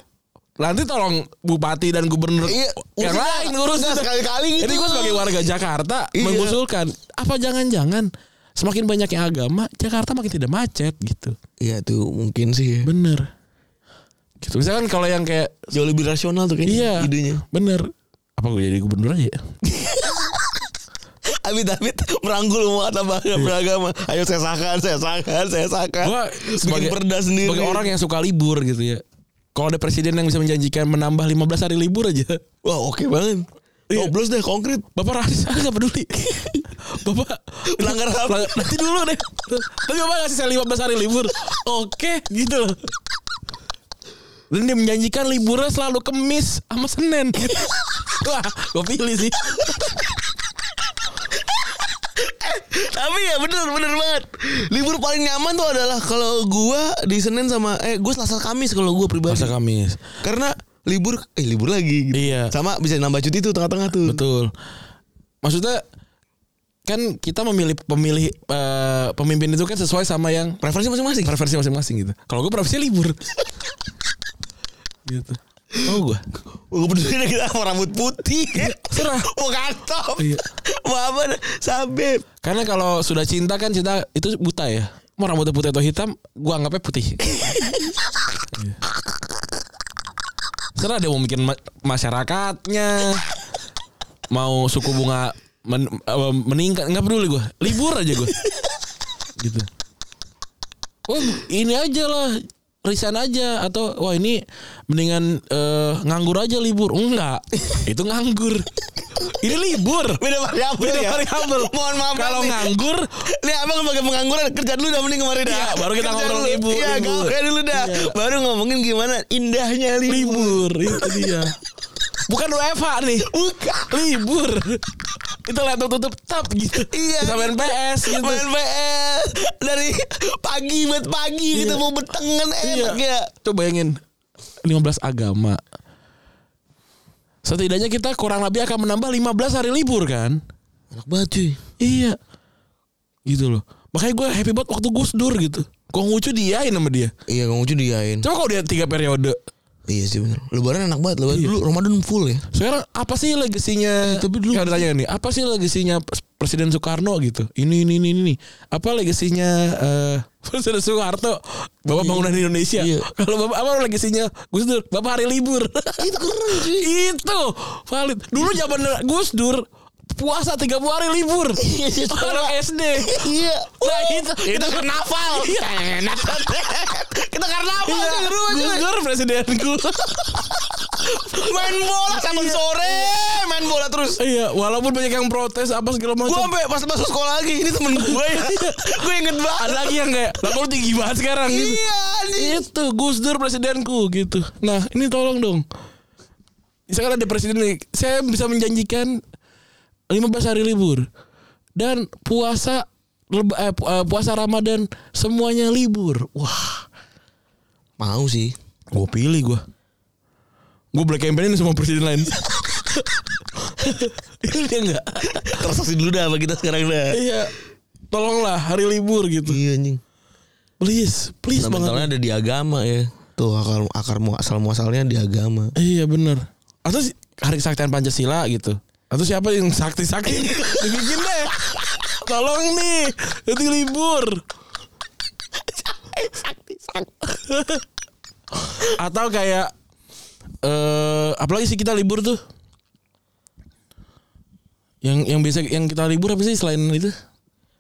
Speaker 2: Nanti tolong bupati dan gubernur
Speaker 3: Iya,
Speaker 2: yang
Speaker 3: urusin
Speaker 2: lain
Speaker 3: lah.
Speaker 2: ngurus
Speaker 3: Udah
Speaker 2: itu. kan.
Speaker 3: sekali-kali gitu.
Speaker 2: Jadi gue sebagai warga Jakarta
Speaker 3: Iya.
Speaker 2: mengusulkan apa jangan-jangan semakin banyaknya agama Jakarta makin tidak macet gitu.
Speaker 3: iya tuh mungkin sih ya.
Speaker 2: Bener. Gitu. Misalkan kalau yang kayak
Speaker 3: jauh lebih rasional tuh kayaknya
Speaker 2: iya
Speaker 3: <laughs> idenya
Speaker 2: bener. Apa gue jadi gubernur aja? ya?
Speaker 3: Amit Amit merangkul umat apa beragama ayo saya sahkan saya sahkan saya sahkan
Speaker 2: gua sebagai
Speaker 3: bikin perda sendiri
Speaker 2: sebagai orang yang suka libur gitu ya kalau ada presiden yang bisa menjanjikan menambah 15 hari libur aja
Speaker 3: wah oke banget
Speaker 2: Iya.
Speaker 3: Coblos deh konkret
Speaker 2: Bapak rasis ah gak peduli <laughs> Bapak <laughs>
Speaker 3: Pelanggar HAM.
Speaker 2: Pelanggar- Nanti dulu deh Tapi Bapak ngasih saya 15 hari libur Oke gitu loh Dan dia menjanjikan liburnya selalu kemis sama Senin <laughs> Wah gue pilih sih
Speaker 3: Tapi ya bener bener banget Libur paling nyaman tuh adalah Kalau gua di Senin sama Eh gua Selasa Kamis kalau gua pribadi
Speaker 2: Kamis
Speaker 3: Karena libur Eh libur lagi gitu.
Speaker 2: Iya.
Speaker 3: Sama bisa nambah cuti tuh tengah-tengah tuh
Speaker 2: Betul. Maksudnya kan kita memilih pemilih eh, pemimpin itu kan sesuai sama yang
Speaker 3: Preferensi masing-masing
Speaker 2: preferensi masing-masing gitu. Kalau gue preferensi <laughs> libur. gitu. Oh gue.
Speaker 3: Gue peduli deh kita mau rambut putih <laughs>
Speaker 2: Serah.
Speaker 3: Mau kantong
Speaker 2: Iya.
Speaker 3: Mau apa dah, Sabep
Speaker 2: Karena kalau sudah cinta kan cinta itu buta ya. Mau rambutnya putih atau hitam, gue anggapnya putih. Iya. Serah dia mau bikin masyarakatnya, mau suku bunga men- eh, meningkat nggak peduli gue, libur aja gue. gitu. Wah ini aja lah resign aja atau wah ini mendingan eh, nganggur aja libur enggak itu nganggur ini libur
Speaker 3: Beda variabel
Speaker 2: Beda
Speaker 3: ya
Speaker 2: variabel.
Speaker 3: Mohon maaf
Speaker 2: Iya kalau
Speaker 3: nih.
Speaker 2: nganggur
Speaker 3: Nih abang sebagai pengangguran Kerja dulu dah mending kemarin dah
Speaker 2: Iya, baru kita
Speaker 3: Kerja
Speaker 2: ngobrol
Speaker 3: dulu.
Speaker 2: libur,
Speaker 3: Iya
Speaker 2: libur.
Speaker 3: ngobrol dulu dah
Speaker 2: Iya.
Speaker 3: Baru ngomongin gimana Indahnya libur
Speaker 2: libur itu dia Bukan WFH nih. Libur. Itu laptop tutup tap gitu.
Speaker 3: Iya.
Speaker 2: Kita main PS gitu.
Speaker 3: Main PS dari pagi buat pagi
Speaker 2: Iya.
Speaker 3: gitu mau betengan enak ya.
Speaker 2: Coba bayangin 15 agama. Setidaknya kita kurang lebih akan menambah 15 hari libur kan?
Speaker 3: Enak banget cuy.
Speaker 2: Iya. Gitu loh. Makanya gue happy banget waktu Gus Dur gitu. Kok ngucu diain sama dia.
Speaker 3: Iya Kang Ucu diain.
Speaker 2: Coba kalau dia tiga periode.
Speaker 3: Iya sih bener. Lebaran enak banget.
Speaker 2: Iya.
Speaker 3: Lebaran dulu Ramadan full ya.
Speaker 2: Sekarang apa sih legasinya?
Speaker 3: Eh, tapi dulu-
Speaker 2: Yang ditanya nih, apa sih legasinya Pres- Presiden Soekarno gitu? Ini ini ini ini. Apa legasinya eh, <laughs> Presiden Soeharto? Bapak bangunan Indonesia.
Speaker 3: Iya.
Speaker 2: Kalau bapak apa legasinya Gus Dur? Bapak hari
Speaker 3: <laughs>
Speaker 2: libur. Itu keren Itu valid. Dulu zaman Gus Dur puasa 30 hari
Speaker 3: <laughs>
Speaker 2: libur. Orang SD.
Speaker 3: Iya.
Speaker 2: Nah, itu
Speaker 3: Kita
Speaker 2: itu-
Speaker 3: <laughs> karnaval. Kita karnaval
Speaker 2: Iya,
Speaker 3: cuy, di rumah, cuy.
Speaker 2: Gus Dur presiden
Speaker 3: <laughs>
Speaker 2: gue.
Speaker 3: Main bola sampai sore. Main bola terus.
Speaker 2: Iya, walaupun banyak yang protes apa segala macam.
Speaker 3: Gue sampai pas masuk sekolah lagi ini temen gue <laughs> ya. gue inget banget.
Speaker 2: ada lagi yang <laughs> kayak lah kok lu tinggi banget sekarang gitu.
Speaker 3: Iya nih.
Speaker 2: itu Gus Dur presidenku gitu nah ini tolong dong misalkan ada presiden nih saya bisa menjanjikan 15 hari libur dan puasa leb- eh, pu- eh, puasa Ramadan semuanya libur wah
Speaker 3: Mau sih.
Speaker 2: gue pilih gue gue black campaignin semua presiden <laughs> lain itu dia enggak
Speaker 3: Transaksi dulu dah sama kita sekarang dah.
Speaker 2: iya tolonglah hari libur gitu
Speaker 3: Iya anjing.
Speaker 2: please please banget
Speaker 3: Fundamentalnya ada di agama ya. Tuh akar akar mu- asal muasalnya di agama.
Speaker 2: Iya bener Atau si- hari kesaktian Pancasila gitu Atau siapa yang sakti-sakti Dibikin deh Tolong nih Nanti libur Atau kayak eh Apalagi sih kita libur tuh yang yang biasa yang kita libur apa sih selain itu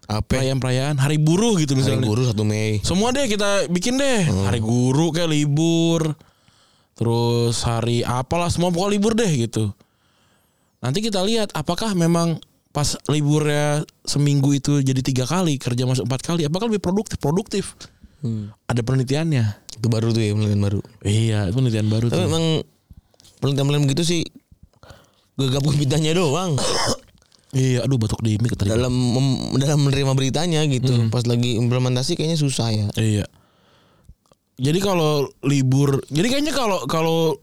Speaker 3: Apa?
Speaker 2: perayaan perayaan hari buruh gitu
Speaker 3: Hari
Speaker 2: misalnya
Speaker 3: guru 1 Mei.
Speaker 2: semua deh kita bikin deh. Hari guru kayak libur. Terus hari apalah semua pokoknya libur deh gitu. Nanti kita lihat apakah memang pas liburnya seminggu itu jadi tiga kali kerja masuk empat kali apakah lebih produktif produktif
Speaker 3: Hmm.
Speaker 2: ada penelitiannya
Speaker 3: Itu baru tuh ya penelitian baru.
Speaker 2: iya itu penelitian baru
Speaker 3: Tapi
Speaker 2: tuh
Speaker 3: emang penelitian-penelitian begitu sih gegap gempitanya doang
Speaker 2: iya aduh batuk di mic tadi
Speaker 3: dalam mem- dalam menerima beritanya gitu. Pas lagi implementasi kayaknya susah ya.
Speaker 2: Iya. Jadi kalau libur, jadi kayaknya kalau kalau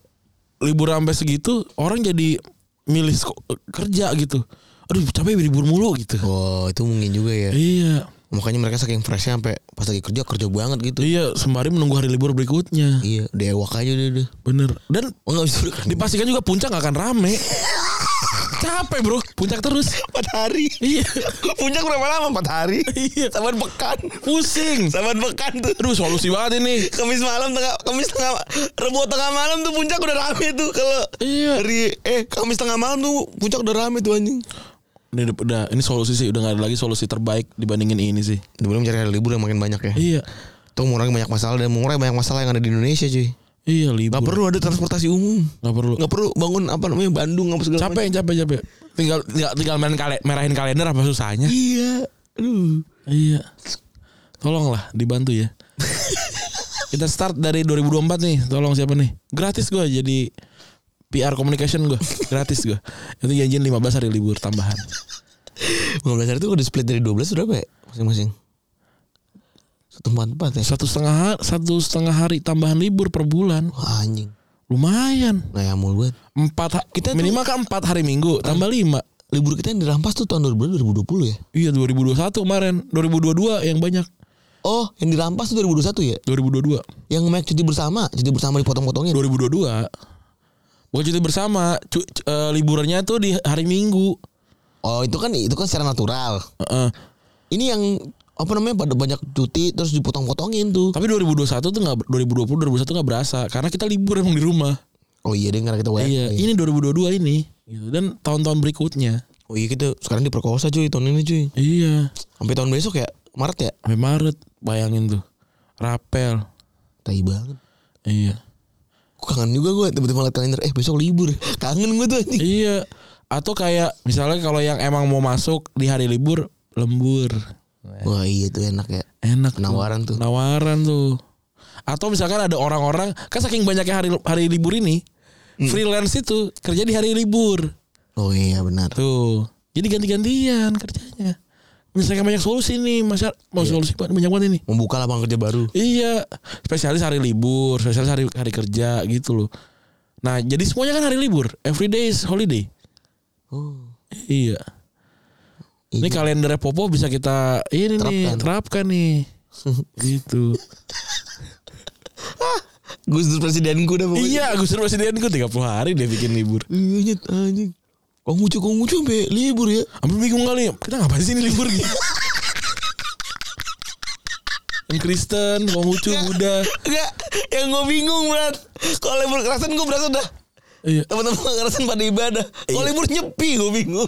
Speaker 2: libur sampai segitu orang jadi milih sko- kerja gitu. Aduh capek libur mulu gitu.
Speaker 3: Oh, itu mungkin juga ya.
Speaker 2: Iya.
Speaker 3: Makanya mereka saking freshnya sampai pas lagi kerja kerja banget gitu.
Speaker 2: Iya, sembari menunggu hari libur berikutnya.
Speaker 3: Iya, dewak aja udah udah.
Speaker 2: Bener. Dan
Speaker 3: Oh, enggak bisa udah kerja.
Speaker 2: dipastikan juga puncak gak akan rame. capek bro, puncak terus.
Speaker 3: Empat hari.
Speaker 2: Iya.
Speaker 3: <laughs> Puncak berapa lama? Empat hari.
Speaker 2: Iya.
Speaker 3: Saban pekan.
Speaker 2: Pusing.
Speaker 3: Saban pekan tuh.
Speaker 2: Aduh solusi banget ini.
Speaker 3: Kamis malam tengah Kamis tengah Rebo tengah malam tuh puncak udah rame tuh kalau
Speaker 2: Iya.
Speaker 3: hari eh Kamis tengah malam tuh puncak udah rame tuh anjing.
Speaker 2: Ini udah- udah ini solusi sih udah gak ada lagi solusi terbaik dibandingin ini sih.
Speaker 3: Belum cari hari libur yang makin banyak ya.
Speaker 2: Iya.
Speaker 3: Itu mengurangi banyak masalah dan mengurangi banyak masalah yang ada di Indonesia cuy.
Speaker 2: Iya libur.
Speaker 3: Gak perlu ada transportasi umum.
Speaker 2: Gak perlu.
Speaker 3: Gak perlu bangun apa namanya Bandung apa segala
Speaker 2: capek capek capek tinggal tinggal, tinggal main kale, merahin kalender apa susahnya
Speaker 3: macam. Iya. Aduh.
Speaker 2: iya tolonglah dibantu <laughs> ya kita start dari 2024 nih tolong siapa nih gratis gue jadi PR communication gue gratis gue itu janjian 15 hari libur tambahan
Speaker 3: 15 hari itu udah split dari 12 berapa ya masing-masing? Satu empat empat ya.
Speaker 2: satu setengah ha- satu setengah hari tambahan libur per bulan
Speaker 3: Wah, anjing.
Speaker 2: lumayan
Speaker 3: Nah, ya mulu banget.
Speaker 2: empat ha- minimal kan empat hari minggu tambah lima
Speaker 3: Libur kita yang dirampas tuh tahun 2020 ya.
Speaker 2: iya 2021 kemarin 2022 yang banyak
Speaker 3: Oh, yang dirampas tuh 2021 ya?
Speaker 2: 2022
Speaker 3: Yang make cuti bersama, cuti bersama dipotong-potongin.
Speaker 2: 2022 Bukan cuti bersama cu, cu- eh, Liburannya tuh di hari minggu
Speaker 3: Oh, itu kan itu kan secara natural.
Speaker 2: Heeh.
Speaker 3: Ini yang apa namanya pada banyak cuti terus dipotong-potongin tuh.
Speaker 2: Tapi 2021 tuh gak 2020 2021 gak berasa Karena kita libur emang di rumah
Speaker 3: Oh iya deh karena kita WFH.
Speaker 2: Iya ini 2022 ini gitu. Dan tahun-tahun berikutnya
Speaker 3: Oh iya kita sekarang diperkosa cuy tahun ini cuy.
Speaker 2: Iya
Speaker 3: Sampai tahun besok ya Maret ya.
Speaker 2: Sampai Maret bayangin tuh Rapel
Speaker 3: Tai banget.
Speaker 2: Iya
Speaker 3: Gue kangen juga gue tiba-tiba ngeliat kalender eh besok libur. Kangen gue tuh anjing.
Speaker 2: Iya Atau kayak misalnya kalau yang emang mau masuk di hari libur Lembur
Speaker 3: Wah iya tuh enak ya.
Speaker 2: Enak
Speaker 3: Penawaran tuh.
Speaker 2: Penawaran tuh. Atau misalkan ada orang-orang kan saking banyaknya hari hari libur ini
Speaker 3: Hmm.
Speaker 2: Freelance itu kerja di hari libur.
Speaker 3: Oh iya benar.
Speaker 2: Tuh. Jadi ganti-gantian kerjanya. Misalkan banyak solusi nih, masa mau
Speaker 3: Iya.
Speaker 2: solusi banyak banget ini.
Speaker 3: Membuka lapangan kerja baru.
Speaker 2: Iya, spesialis hari libur, spesialis hari hari kerja gitu loh. Nah, jadi semuanya kan hari libur. Every day is holiday.
Speaker 3: Oh.
Speaker 2: Iya. Ini kalender Popo bisa kita ini nih
Speaker 3: Iya. Terapkan.
Speaker 2: terapkan
Speaker 3: <laughs>
Speaker 2: nih. gitu.
Speaker 3: Gus Dur presidenku udah pokoknya.
Speaker 2: iya, Gus Dur presiden gue 30 hari dia bikin libur.
Speaker 3: Iya nyet anjing. Kok ngucu kok ngucu sampai libur ya?
Speaker 2: Ambil bingung kali. Kita ngapain sih ini libur
Speaker 3: <laughs>
Speaker 2: gitu? Yang Kristen, Konghucu, Buddha.
Speaker 3: Enggak, yang gue bingung berat. Kalau libur kerasan gue berasa udah
Speaker 2: Iya.
Speaker 3: teman-teman kerasan pada ibadah. Kalau libur nyepi gue bingung.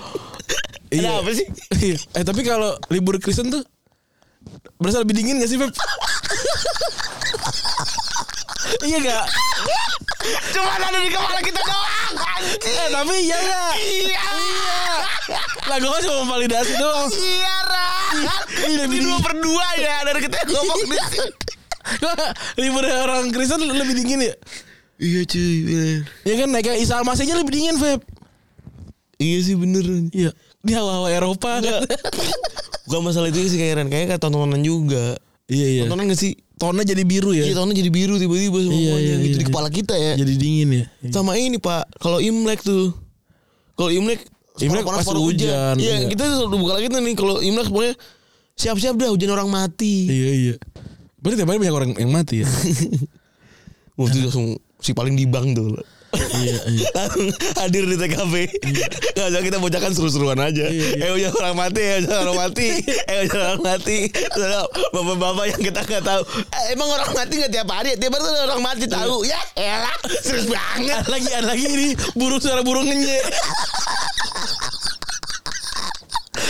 Speaker 3: Ada
Speaker 2: Iya.
Speaker 3: apa sih?
Speaker 2: Iya. eh tapi kalau libur Kristen tuh berasa lebih dingin gak sih Feb? iya gak?
Speaker 3: Cuma ada di kepala kita doang. Anjing.
Speaker 2: Eh tapi iya gak?
Speaker 3: Iya.
Speaker 2: Lah gue kan cuma validasi doang Iya,
Speaker 3: Iya, Rat. Ini dua per dua ya dari kita yang
Speaker 2: <laughs>
Speaker 3: ngomong di sini.
Speaker 2: Libur orang Kristen lebih dingin ya?
Speaker 3: Iya cuy bener.
Speaker 2: Ya kan naiknya Isa Almasihnya lebih dingin Feb
Speaker 3: Iya sih bener
Speaker 2: Iya Di hawa-hawa Eropa kan?
Speaker 3: Bukan masalah itu sih kayak Ren Kayaknya kayak tontonan juga
Speaker 2: Iya iya
Speaker 3: Tontonan gak sih?
Speaker 2: Tonnya jadi biru ya?
Speaker 3: Iya tontonan jadi biru tiba-tiba semuanya
Speaker 2: Iya, iya,
Speaker 3: gitu
Speaker 2: iya.
Speaker 3: di kepala kita ya
Speaker 2: Jadi dingin ya?
Speaker 3: Sama ini pak Kalau Imlek tuh Kalau Imlek
Speaker 2: Imlek
Speaker 3: panas-panas
Speaker 2: pasti
Speaker 3: baru
Speaker 2: hujan,
Speaker 3: Iya
Speaker 2: iya.
Speaker 3: kita tuh buka lagi tuh nih Kalau Imlek pokoknya Siap-siap dah hujan orang mati
Speaker 2: Iya iya Berarti tiap hari banyak orang yang mati ya?
Speaker 3: Wah itu langsung Si paling di bank tuh
Speaker 2: iya iya
Speaker 3: <laughs> Langsung hadir di TKP Gak usah kita bacakan seru-seruan aja
Speaker 2: Iya, iya.
Speaker 3: Eh hujan orang mati Eh hujan orang mati Eh hujan orang mati Terus ada Bapak-bapak yang kita gak tahu eh, Emang orang mati gak tiap hari ya? Tiap hari tuh ada orang mati tahu Ya elah Serius banget
Speaker 2: Iya. Ada lagi ada lagi ini burung suara burung ngenye. <laughs>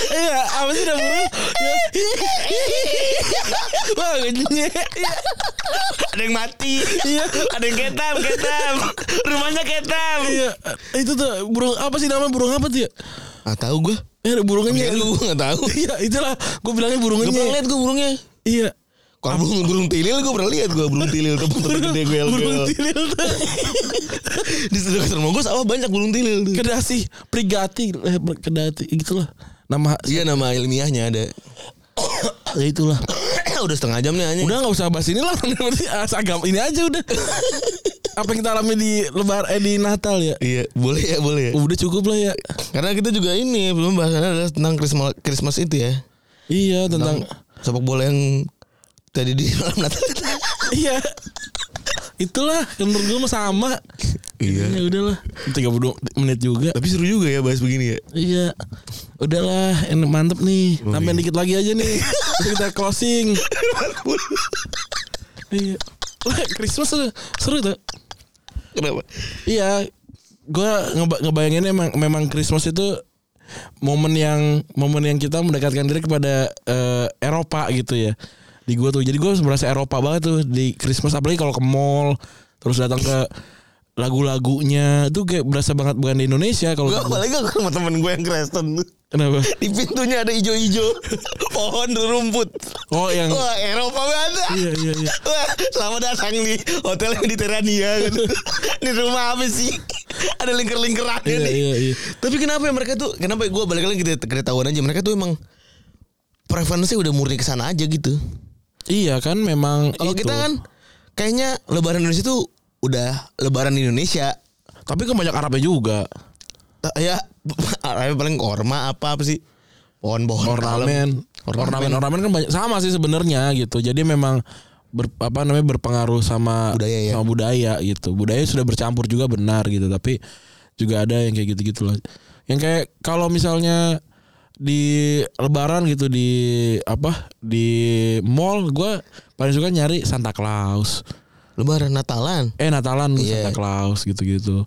Speaker 2: Iya, apa sih nama burung? Wah, ngenye.
Speaker 3: Ada yang mati
Speaker 2: Iya.
Speaker 3: Ada yang ketam Ketam Rumahnya ketam
Speaker 2: Iya, itu tuh burung apa sih nama burung apa tuh ya?
Speaker 3: Gak tahu gue
Speaker 2: Eh, ada burung
Speaker 3: Ya
Speaker 2: ngenye.
Speaker 3: lu gue gak tahu
Speaker 2: Iya, itulah gue bilangnya burung
Speaker 3: Gak pernah
Speaker 2: ngenye.
Speaker 3: liat gue burungnya
Speaker 2: Iya.
Speaker 3: Kalau burung, burung tilil gue pernah liat gue Burung tilil tuh tempat gede gue
Speaker 2: Burung tilil tuh. <laughs>
Speaker 3: Di sedekat rumah gue sawah oh, banyak burung tilil tuh
Speaker 2: Kedasi, prigati, eh, kedati gitulah. Nama
Speaker 3: Iya nama ilmiahnya ada <coughs>
Speaker 2: ya itulah.
Speaker 3: udah setengah jam nih anjing.
Speaker 2: Udah nggak usah bahas ini lah, <laughs> nanti agam ini aja udah. Apa yang kita alami di lebar eh di Natal ya?
Speaker 3: Iya, boleh ya, boleh ya.
Speaker 2: Udah cukup lah ya.
Speaker 3: Karena kita juga ini belum bahasannya adalah tentang Christmas Christmas itu ya.
Speaker 2: Iya tentang,
Speaker 3: Tentang sepak bola yang tadi di malam Natal.
Speaker 2: iya. Itulah menurut gue mah sama. Ya
Speaker 3: <laughs> iya.
Speaker 2: udahlah. 32 menit juga.
Speaker 3: Tapi seru juga ya bahas begini ya.
Speaker 2: Iya. Udahlah, enak mantep nih. Tambahin dikit lagi aja nih. Terus kita closing. iya. Wah, Christmas seru, seru tuh.
Speaker 3: Kenapa?
Speaker 2: Iya, gue ngeba- ngebayangin emang memang Christmas itu momen yang momen yang kita mendekatkan diri kepada eh, Eropa gitu ya di gue tuh. Jadi gue merasa Eropa banget tuh di Christmas apalagi kalau ke mall terus datang ke lagu-lagunya itu kayak berasa banget bukan di Indonesia kalau
Speaker 3: Gue
Speaker 2: kata gua.
Speaker 3: apalagi aku sama temen gue yang Kristen
Speaker 2: kenapa?
Speaker 3: Di pintunya ada <laughs> ijo-ijo Pohon rumput
Speaker 2: Oh yang
Speaker 3: Wah Eropa banget
Speaker 2: iya iya iya.
Speaker 3: Wah, selamat datang di Hotel Mediterania gitu. Di rumah apa sih? Ada lingkar-lingkaran
Speaker 2: Iya,
Speaker 3: nih.
Speaker 2: iya, iya.
Speaker 3: Tapi kenapa ya mereka tuh? Kenapa gue balik lagi kita kita tahuan aja mereka tuh emang preferensi udah murni ke sana aja gitu.
Speaker 2: Iya kan memang
Speaker 3: Kalau
Speaker 2: itu.
Speaker 3: kita kan kayaknya lebaran Indonesia tuh udah lebaran di Indonesia.
Speaker 2: tapi kan banyak Arabnya juga.
Speaker 3: Ta- Ya <laughs> Arabnya paling korma apa apa sih? Pohon-pohon
Speaker 2: ornamen
Speaker 3: Oh, Ornamen.
Speaker 2: ornamen ornamen kan banyak sama sih sebenarnya gitu jadi memang ber, apa namanya berpengaruh sama
Speaker 3: Budaya ya.
Speaker 2: sama budaya gitu budaya sudah bercampur juga benar gitu tapi juga ada yang kayak gitu gitu loh yang kayak kalau misalnya di lebaran gitu di apa di mall gua paling suka nyari Santa Claus
Speaker 3: kalam. Lebaran Natalan.
Speaker 2: eh Natalan gua
Speaker 3: Iya.
Speaker 2: Santa Claus gitu-gitu.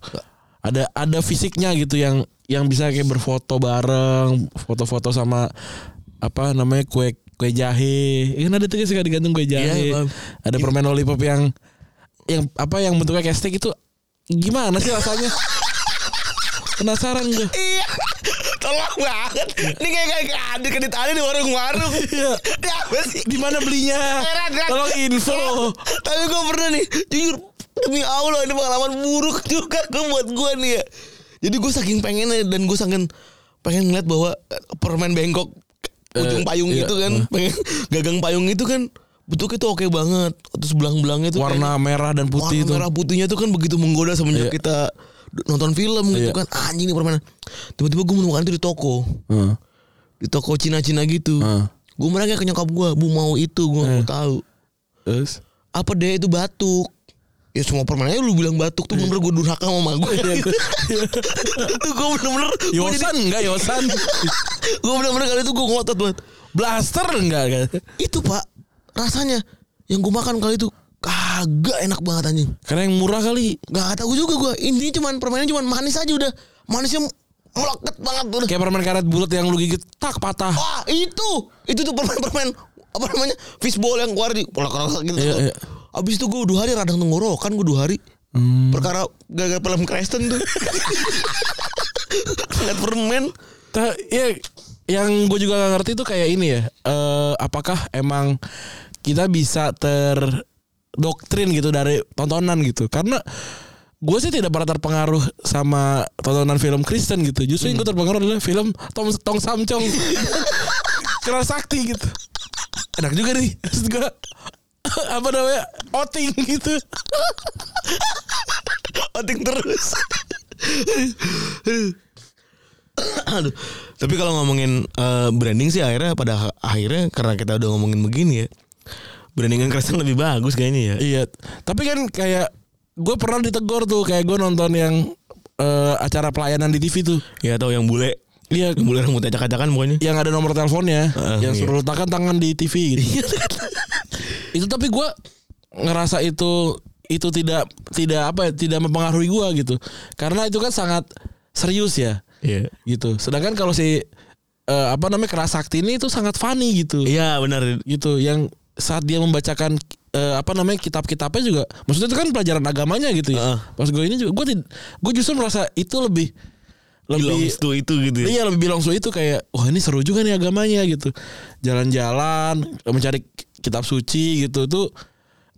Speaker 2: Ada ada fisiknya gitu yang yang bisa kayak berfoto bareng, foto-foto sama apa namanya kue kue jahe. Ya kan ada tuh yang suka digantung kue jahe.
Speaker 3: Iya, Bang.
Speaker 2: ada permen lollipop yang yang apa yang bentuknya kayak stick itu gimana sih
Speaker 3: <laughs>
Speaker 2: rasanya? Penasaran gue.
Speaker 3: Iya. <laughs> Tolong banget. Ini kayak kayak kayak ada kedit ada di warung-warung.
Speaker 2: Iya.
Speaker 3: Ya, apa sih?
Speaker 2: Di mana belinya?
Speaker 3: Rat, rat.
Speaker 2: Tolong info.
Speaker 3: Tapi gue pernah nih, jujur Demi Allah ini pengalaman buruk juga gue buat gue nih ya. Jadi gue saking pengennya dan gue saking pengen ngeliat bahwa eh, permen bengkok ujung
Speaker 2: Eh,
Speaker 3: payung
Speaker 2: iya,
Speaker 3: itu kan, pengen <laughs> gagang payung itu kan bentuknya tuh oke banget. Terus belang-belangnya tuh
Speaker 2: warna merah dan putih
Speaker 3: putih
Speaker 2: itu.
Speaker 3: Iya. merah putihnya tuh kan begitu menggoda semenjak
Speaker 2: Iya.
Speaker 3: kita d- nonton film
Speaker 2: Iya.
Speaker 3: gitu kan anjing nih permainan. Tiba-tiba gue menemukan itu di toko,
Speaker 2: Heeh.
Speaker 3: di toko Cina-Cina gitu.
Speaker 2: Heeh.
Speaker 3: Gue merasa ke nyokap gue, bu mau itu gue
Speaker 2: Eh.
Speaker 3: mau tahu
Speaker 2: Terus
Speaker 3: apa deh itu batuk ya semua permainannya lu bilang batuk tuh bener gue durhaka sama gue
Speaker 2: Iya,
Speaker 3: itu gue bener-bener gue jadi
Speaker 2: Yosan enggak
Speaker 3: <laughs>
Speaker 2: Yosan
Speaker 3: gue bener-bener kali itu gue ngotot banget
Speaker 2: Blaster enggak kan
Speaker 3: itu pak rasanya yang gue makan kali itu kagak enak banget anjing
Speaker 2: Karena yang murah kali
Speaker 3: gak tahu juga gue intinya cuman permainan cuman manis aja udah manisnya melekat banget udah
Speaker 2: Kayak permen karet bulat yang lu gigit Tak patah
Speaker 3: wah itu itu tuh permen-permen apa namanya fishball yang keluar di kolak-kolak gitu
Speaker 2: Iya, iya.
Speaker 3: abis itu gue dua hari radang tenggorokan gue dua hari perkara gara-gara film Kristen tuh <laughs> Lihat permen
Speaker 2: Ta- ya, yang gue juga gak ngerti tuh kayak ini ya. eh, apakah emang kita bisa terdoktrin gitu dari tontonan gitu? Karena gue sih tidak pernah terpengaruh sama tontonan film Kristen gitu. Justru yang gue terpengaruh adalah film Tom Tong Samcong. Kera sakti gitu. Enak juga nih. Maksud gue <laughs> apa namanya? Oting gitu.
Speaker 3: oting terus <laughs> Aduh. tapi kalau ngomongin eh, branding sih akhirnya pada ha- akhirnya karena kita udah ngomongin begini ya brandingan Kristen lebih bagus kayaknya ya
Speaker 2: Iya, tapi kan kayak gue pernah ditegur tuh kayak gue nonton yang eh, acara pelayanan di TV tuh.
Speaker 3: ya atau yang bule
Speaker 2: Iya,
Speaker 3: yang bule rambutnya acak-acakan pokoknya
Speaker 2: yang ada nomor teleponnya,
Speaker 3: Heeh,
Speaker 2: yang
Speaker 3: iya.
Speaker 2: suruh letakkan tangan di TV gitu. <laughs> itu tapi gue ngerasa itu itu tidak tidak apa ya, tidak mempengaruhi gue gitu. Karena itu kan sangat serius ya
Speaker 3: iya
Speaker 2: gitu. Sedangkan kalau si eh, apa namanya kerasakti ini itu sangat funny gitu.
Speaker 3: iya benar
Speaker 2: gitu yang saat dia membacakan eh, apa namanya kitab-kitabnya juga maksudnya itu kan pelajaran agamanya gitu ya
Speaker 3: Heeh.
Speaker 2: pas gue ini juga gue tid- gue justru merasa itu lebih lebih
Speaker 3: belongs to itu gitu ya.
Speaker 2: iya lebih bilang itu kayak wah ini seru juga nih agamanya gitu jalan-jalan mencari kitab suci gitu itu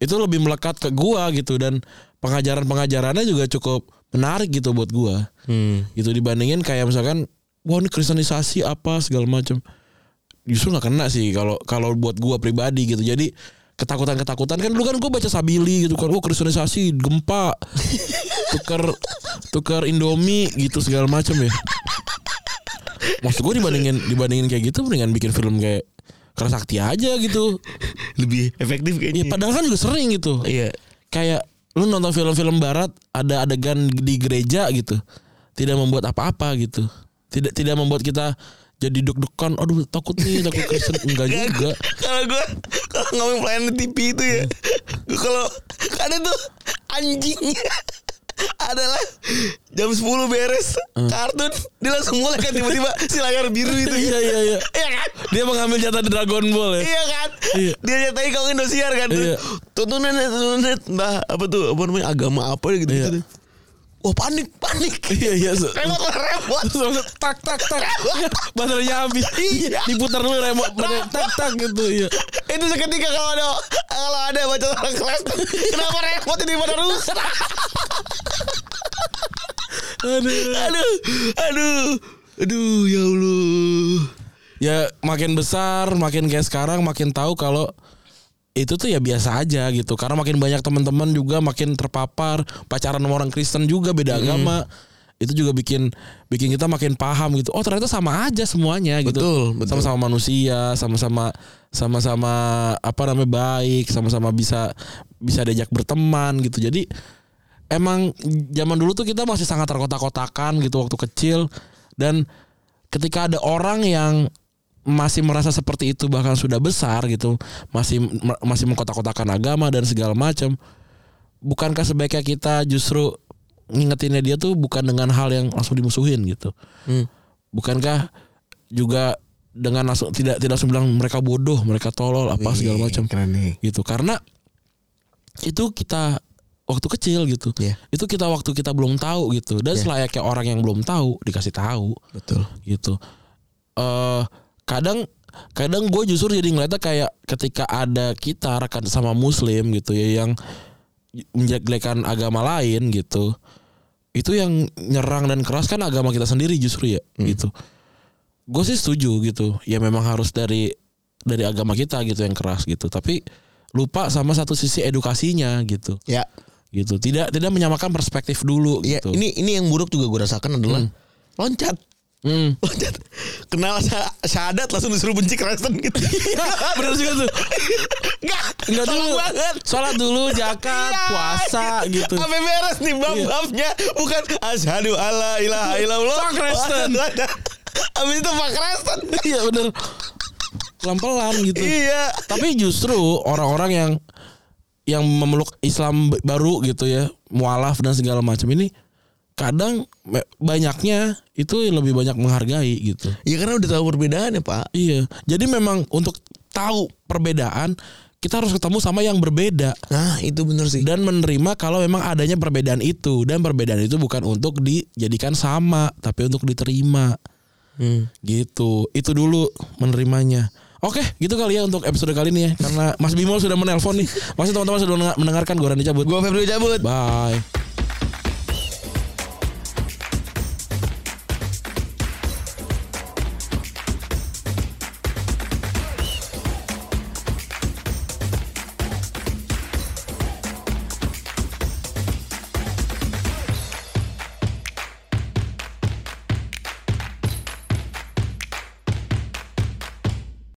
Speaker 2: itu lebih melekat ke gua gitu dan pengajaran-pengajarannya juga cukup menarik gitu buat gua
Speaker 3: Hmm.
Speaker 2: gitu dibandingin kayak misalkan wah ini kristenisasi apa segala macam justru nggak kena sih kalau kalau buat gua pribadi gitu jadi ketakutan ketakutan kan dulu kan gua baca sabili gitu kan wah kristenisasi gempa tuker tuker indomie gitu segala macam ya maksud gua dibandingin dibandingin kayak gitu mendingan bikin film kayak kerasakti aja gitu
Speaker 3: lebih efektif
Speaker 2: ya
Speaker 3: kayaknya
Speaker 2: padahal kan juga sering gitu
Speaker 3: iya
Speaker 2: kayak lu nonton film-film barat ada adegan di gereja gitu tidak membuat apa-apa gitu tidak tidak membuat kita jadi deg-degan aduh takut nih takut Kristen enggak juga
Speaker 3: Eh, kalau gue kalau ngomong pelayanan TV itu ya
Speaker 2: Hmm.
Speaker 3: gue kalau ada tuh anjingnya adalah jam 10 beres
Speaker 2: Hmm.
Speaker 3: kartun dia langsung mulai kan tiba-tiba si layar biru itu
Speaker 2: iya iya iya
Speaker 3: iya kan
Speaker 2: dia mengambil jatah Dragon Ball ya
Speaker 3: iya kan
Speaker 2: Iya.
Speaker 3: dia nyatain kalau Indosiar kan
Speaker 2: Iya.
Speaker 3: tuntunan tuntunan nah apa tuh apa namanya agama apa gitu gitu
Speaker 2: Iya.
Speaker 3: wah panik panik
Speaker 2: iya iya so-
Speaker 3: repot lah repot
Speaker 2: Terus langsung tak tak tak Iya, baterainya habis
Speaker 3: Iya.
Speaker 2: diputar dulu remote baterai tak tak gitu iya
Speaker 3: itu seketika kalau ada kalau ada baca orang kelas kenapa repot ini pada rusak
Speaker 2: aduh
Speaker 3: aduh aduh aduh ya allah
Speaker 2: ya makin besar makin kayak sekarang makin tahu kalau itu tuh ya biasa aja gitu karena makin banyak teman-teman juga makin terpapar pacaran sama orang Kristen juga beda agama itu juga bikin bikin kita makin paham gitu oh ternyata sama aja semuanya gitu
Speaker 3: Betul, betul.
Speaker 2: sama-sama manusia sama-sama sama-sama apa namanya baik sama-sama bisa bisa diajak berteman gitu jadi emang zaman dulu tuh kita masih sangat terkotak-kotakan gitu waktu kecil dan ketika ada orang yang masih merasa seperti itu bahkan sudah besar gitu masih masih mengkotak-kotakan agama dan segala macam bukankah sebaiknya kita justru ngingetinnya dia tuh bukan dengan hal yang langsung dimusuhin gitu bukankah juga dengan langsung tidak tidak langsung bilang mereka bodoh mereka tolol apa segala macam
Speaker 3: keren nih
Speaker 2: gitu karena itu kita waktu kecil gitu
Speaker 3: Iya.
Speaker 2: itu kita waktu kita belum tahu gitu dan selayaknya orang yang belum tahu dikasih tahu
Speaker 3: betul
Speaker 2: gitu eh kadang kadang gue justru jadi ngeliatnya kayak ketika ada kita rekan sama muslim gitu ya yang menjelek-jelekan agama lain gitu itu yang nyerang dan keras kan agama kita sendiri justru ya
Speaker 3: Hmm.
Speaker 2: gitu gue sih setuju gitu ya memang harus dari dari agama kita gitu yang keras gitu tapi lupa sama satu sisi edukasinya gitu
Speaker 3: Ya,
Speaker 2: gitu tidak tidak menyamakan perspektif dulu
Speaker 3: ya
Speaker 2: gitu
Speaker 3: ini ini yang buruk juga gue rasakan adalah loncat.
Speaker 2: Hmm.
Speaker 3: Loncat. Kenal sya- syahadat langsung disuruh benci Kristen gitu.
Speaker 2: <laughs> Iya, bener juga tuh
Speaker 3: Enggak,
Speaker 2: Enggak
Speaker 3: tolong
Speaker 2: dulu
Speaker 3: banget.
Speaker 2: Sholat dulu Jakat
Speaker 3: Iya.
Speaker 2: Puasa gitu Iya.
Speaker 3: Sampai beres nih bab-babnya Bukan Asyhadu alla ilaha illallah
Speaker 2: Pak
Speaker 3: <laughs>
Speaker 2: Kristen.
Speaker 3: Abis itu Pak Kristen
Speaker 2: Iya bener Pelan-pelan gitu
Speaker 3: Iya
Speaker 2: Tapi justru Orang-orang yang Yang memeluk Islam b- baru gitu ya Mualaf dan segala macam ini Kadang me- Banyaknya Itu lebih banyak menghargai gitu
Speaker 3: Ya karena udah tahu perbedaan ya Pak
Speaker 2: Iya Jadi memang untuk Tahu perbedaan Kita harus ketemu sama yang berbeda
Speaker 3: Nah itu bener sih
Speaker 2: dan menerima kalau memang adanya perbedaan itu dan perbedaan itu bukan untuk dijadikan sama tapi untuk diterima
Speaker 3: Hmm.
Speaker 2: gitu itu dulu menerimanya oke gitu kali ya untuk episode kali ini ya karena Mas Bimo sudah menelpon nih masih teman-teman sudah mendengarkan gue Randy cabut
Speaker 3: Gue Febri cabut
Speaker 2: bye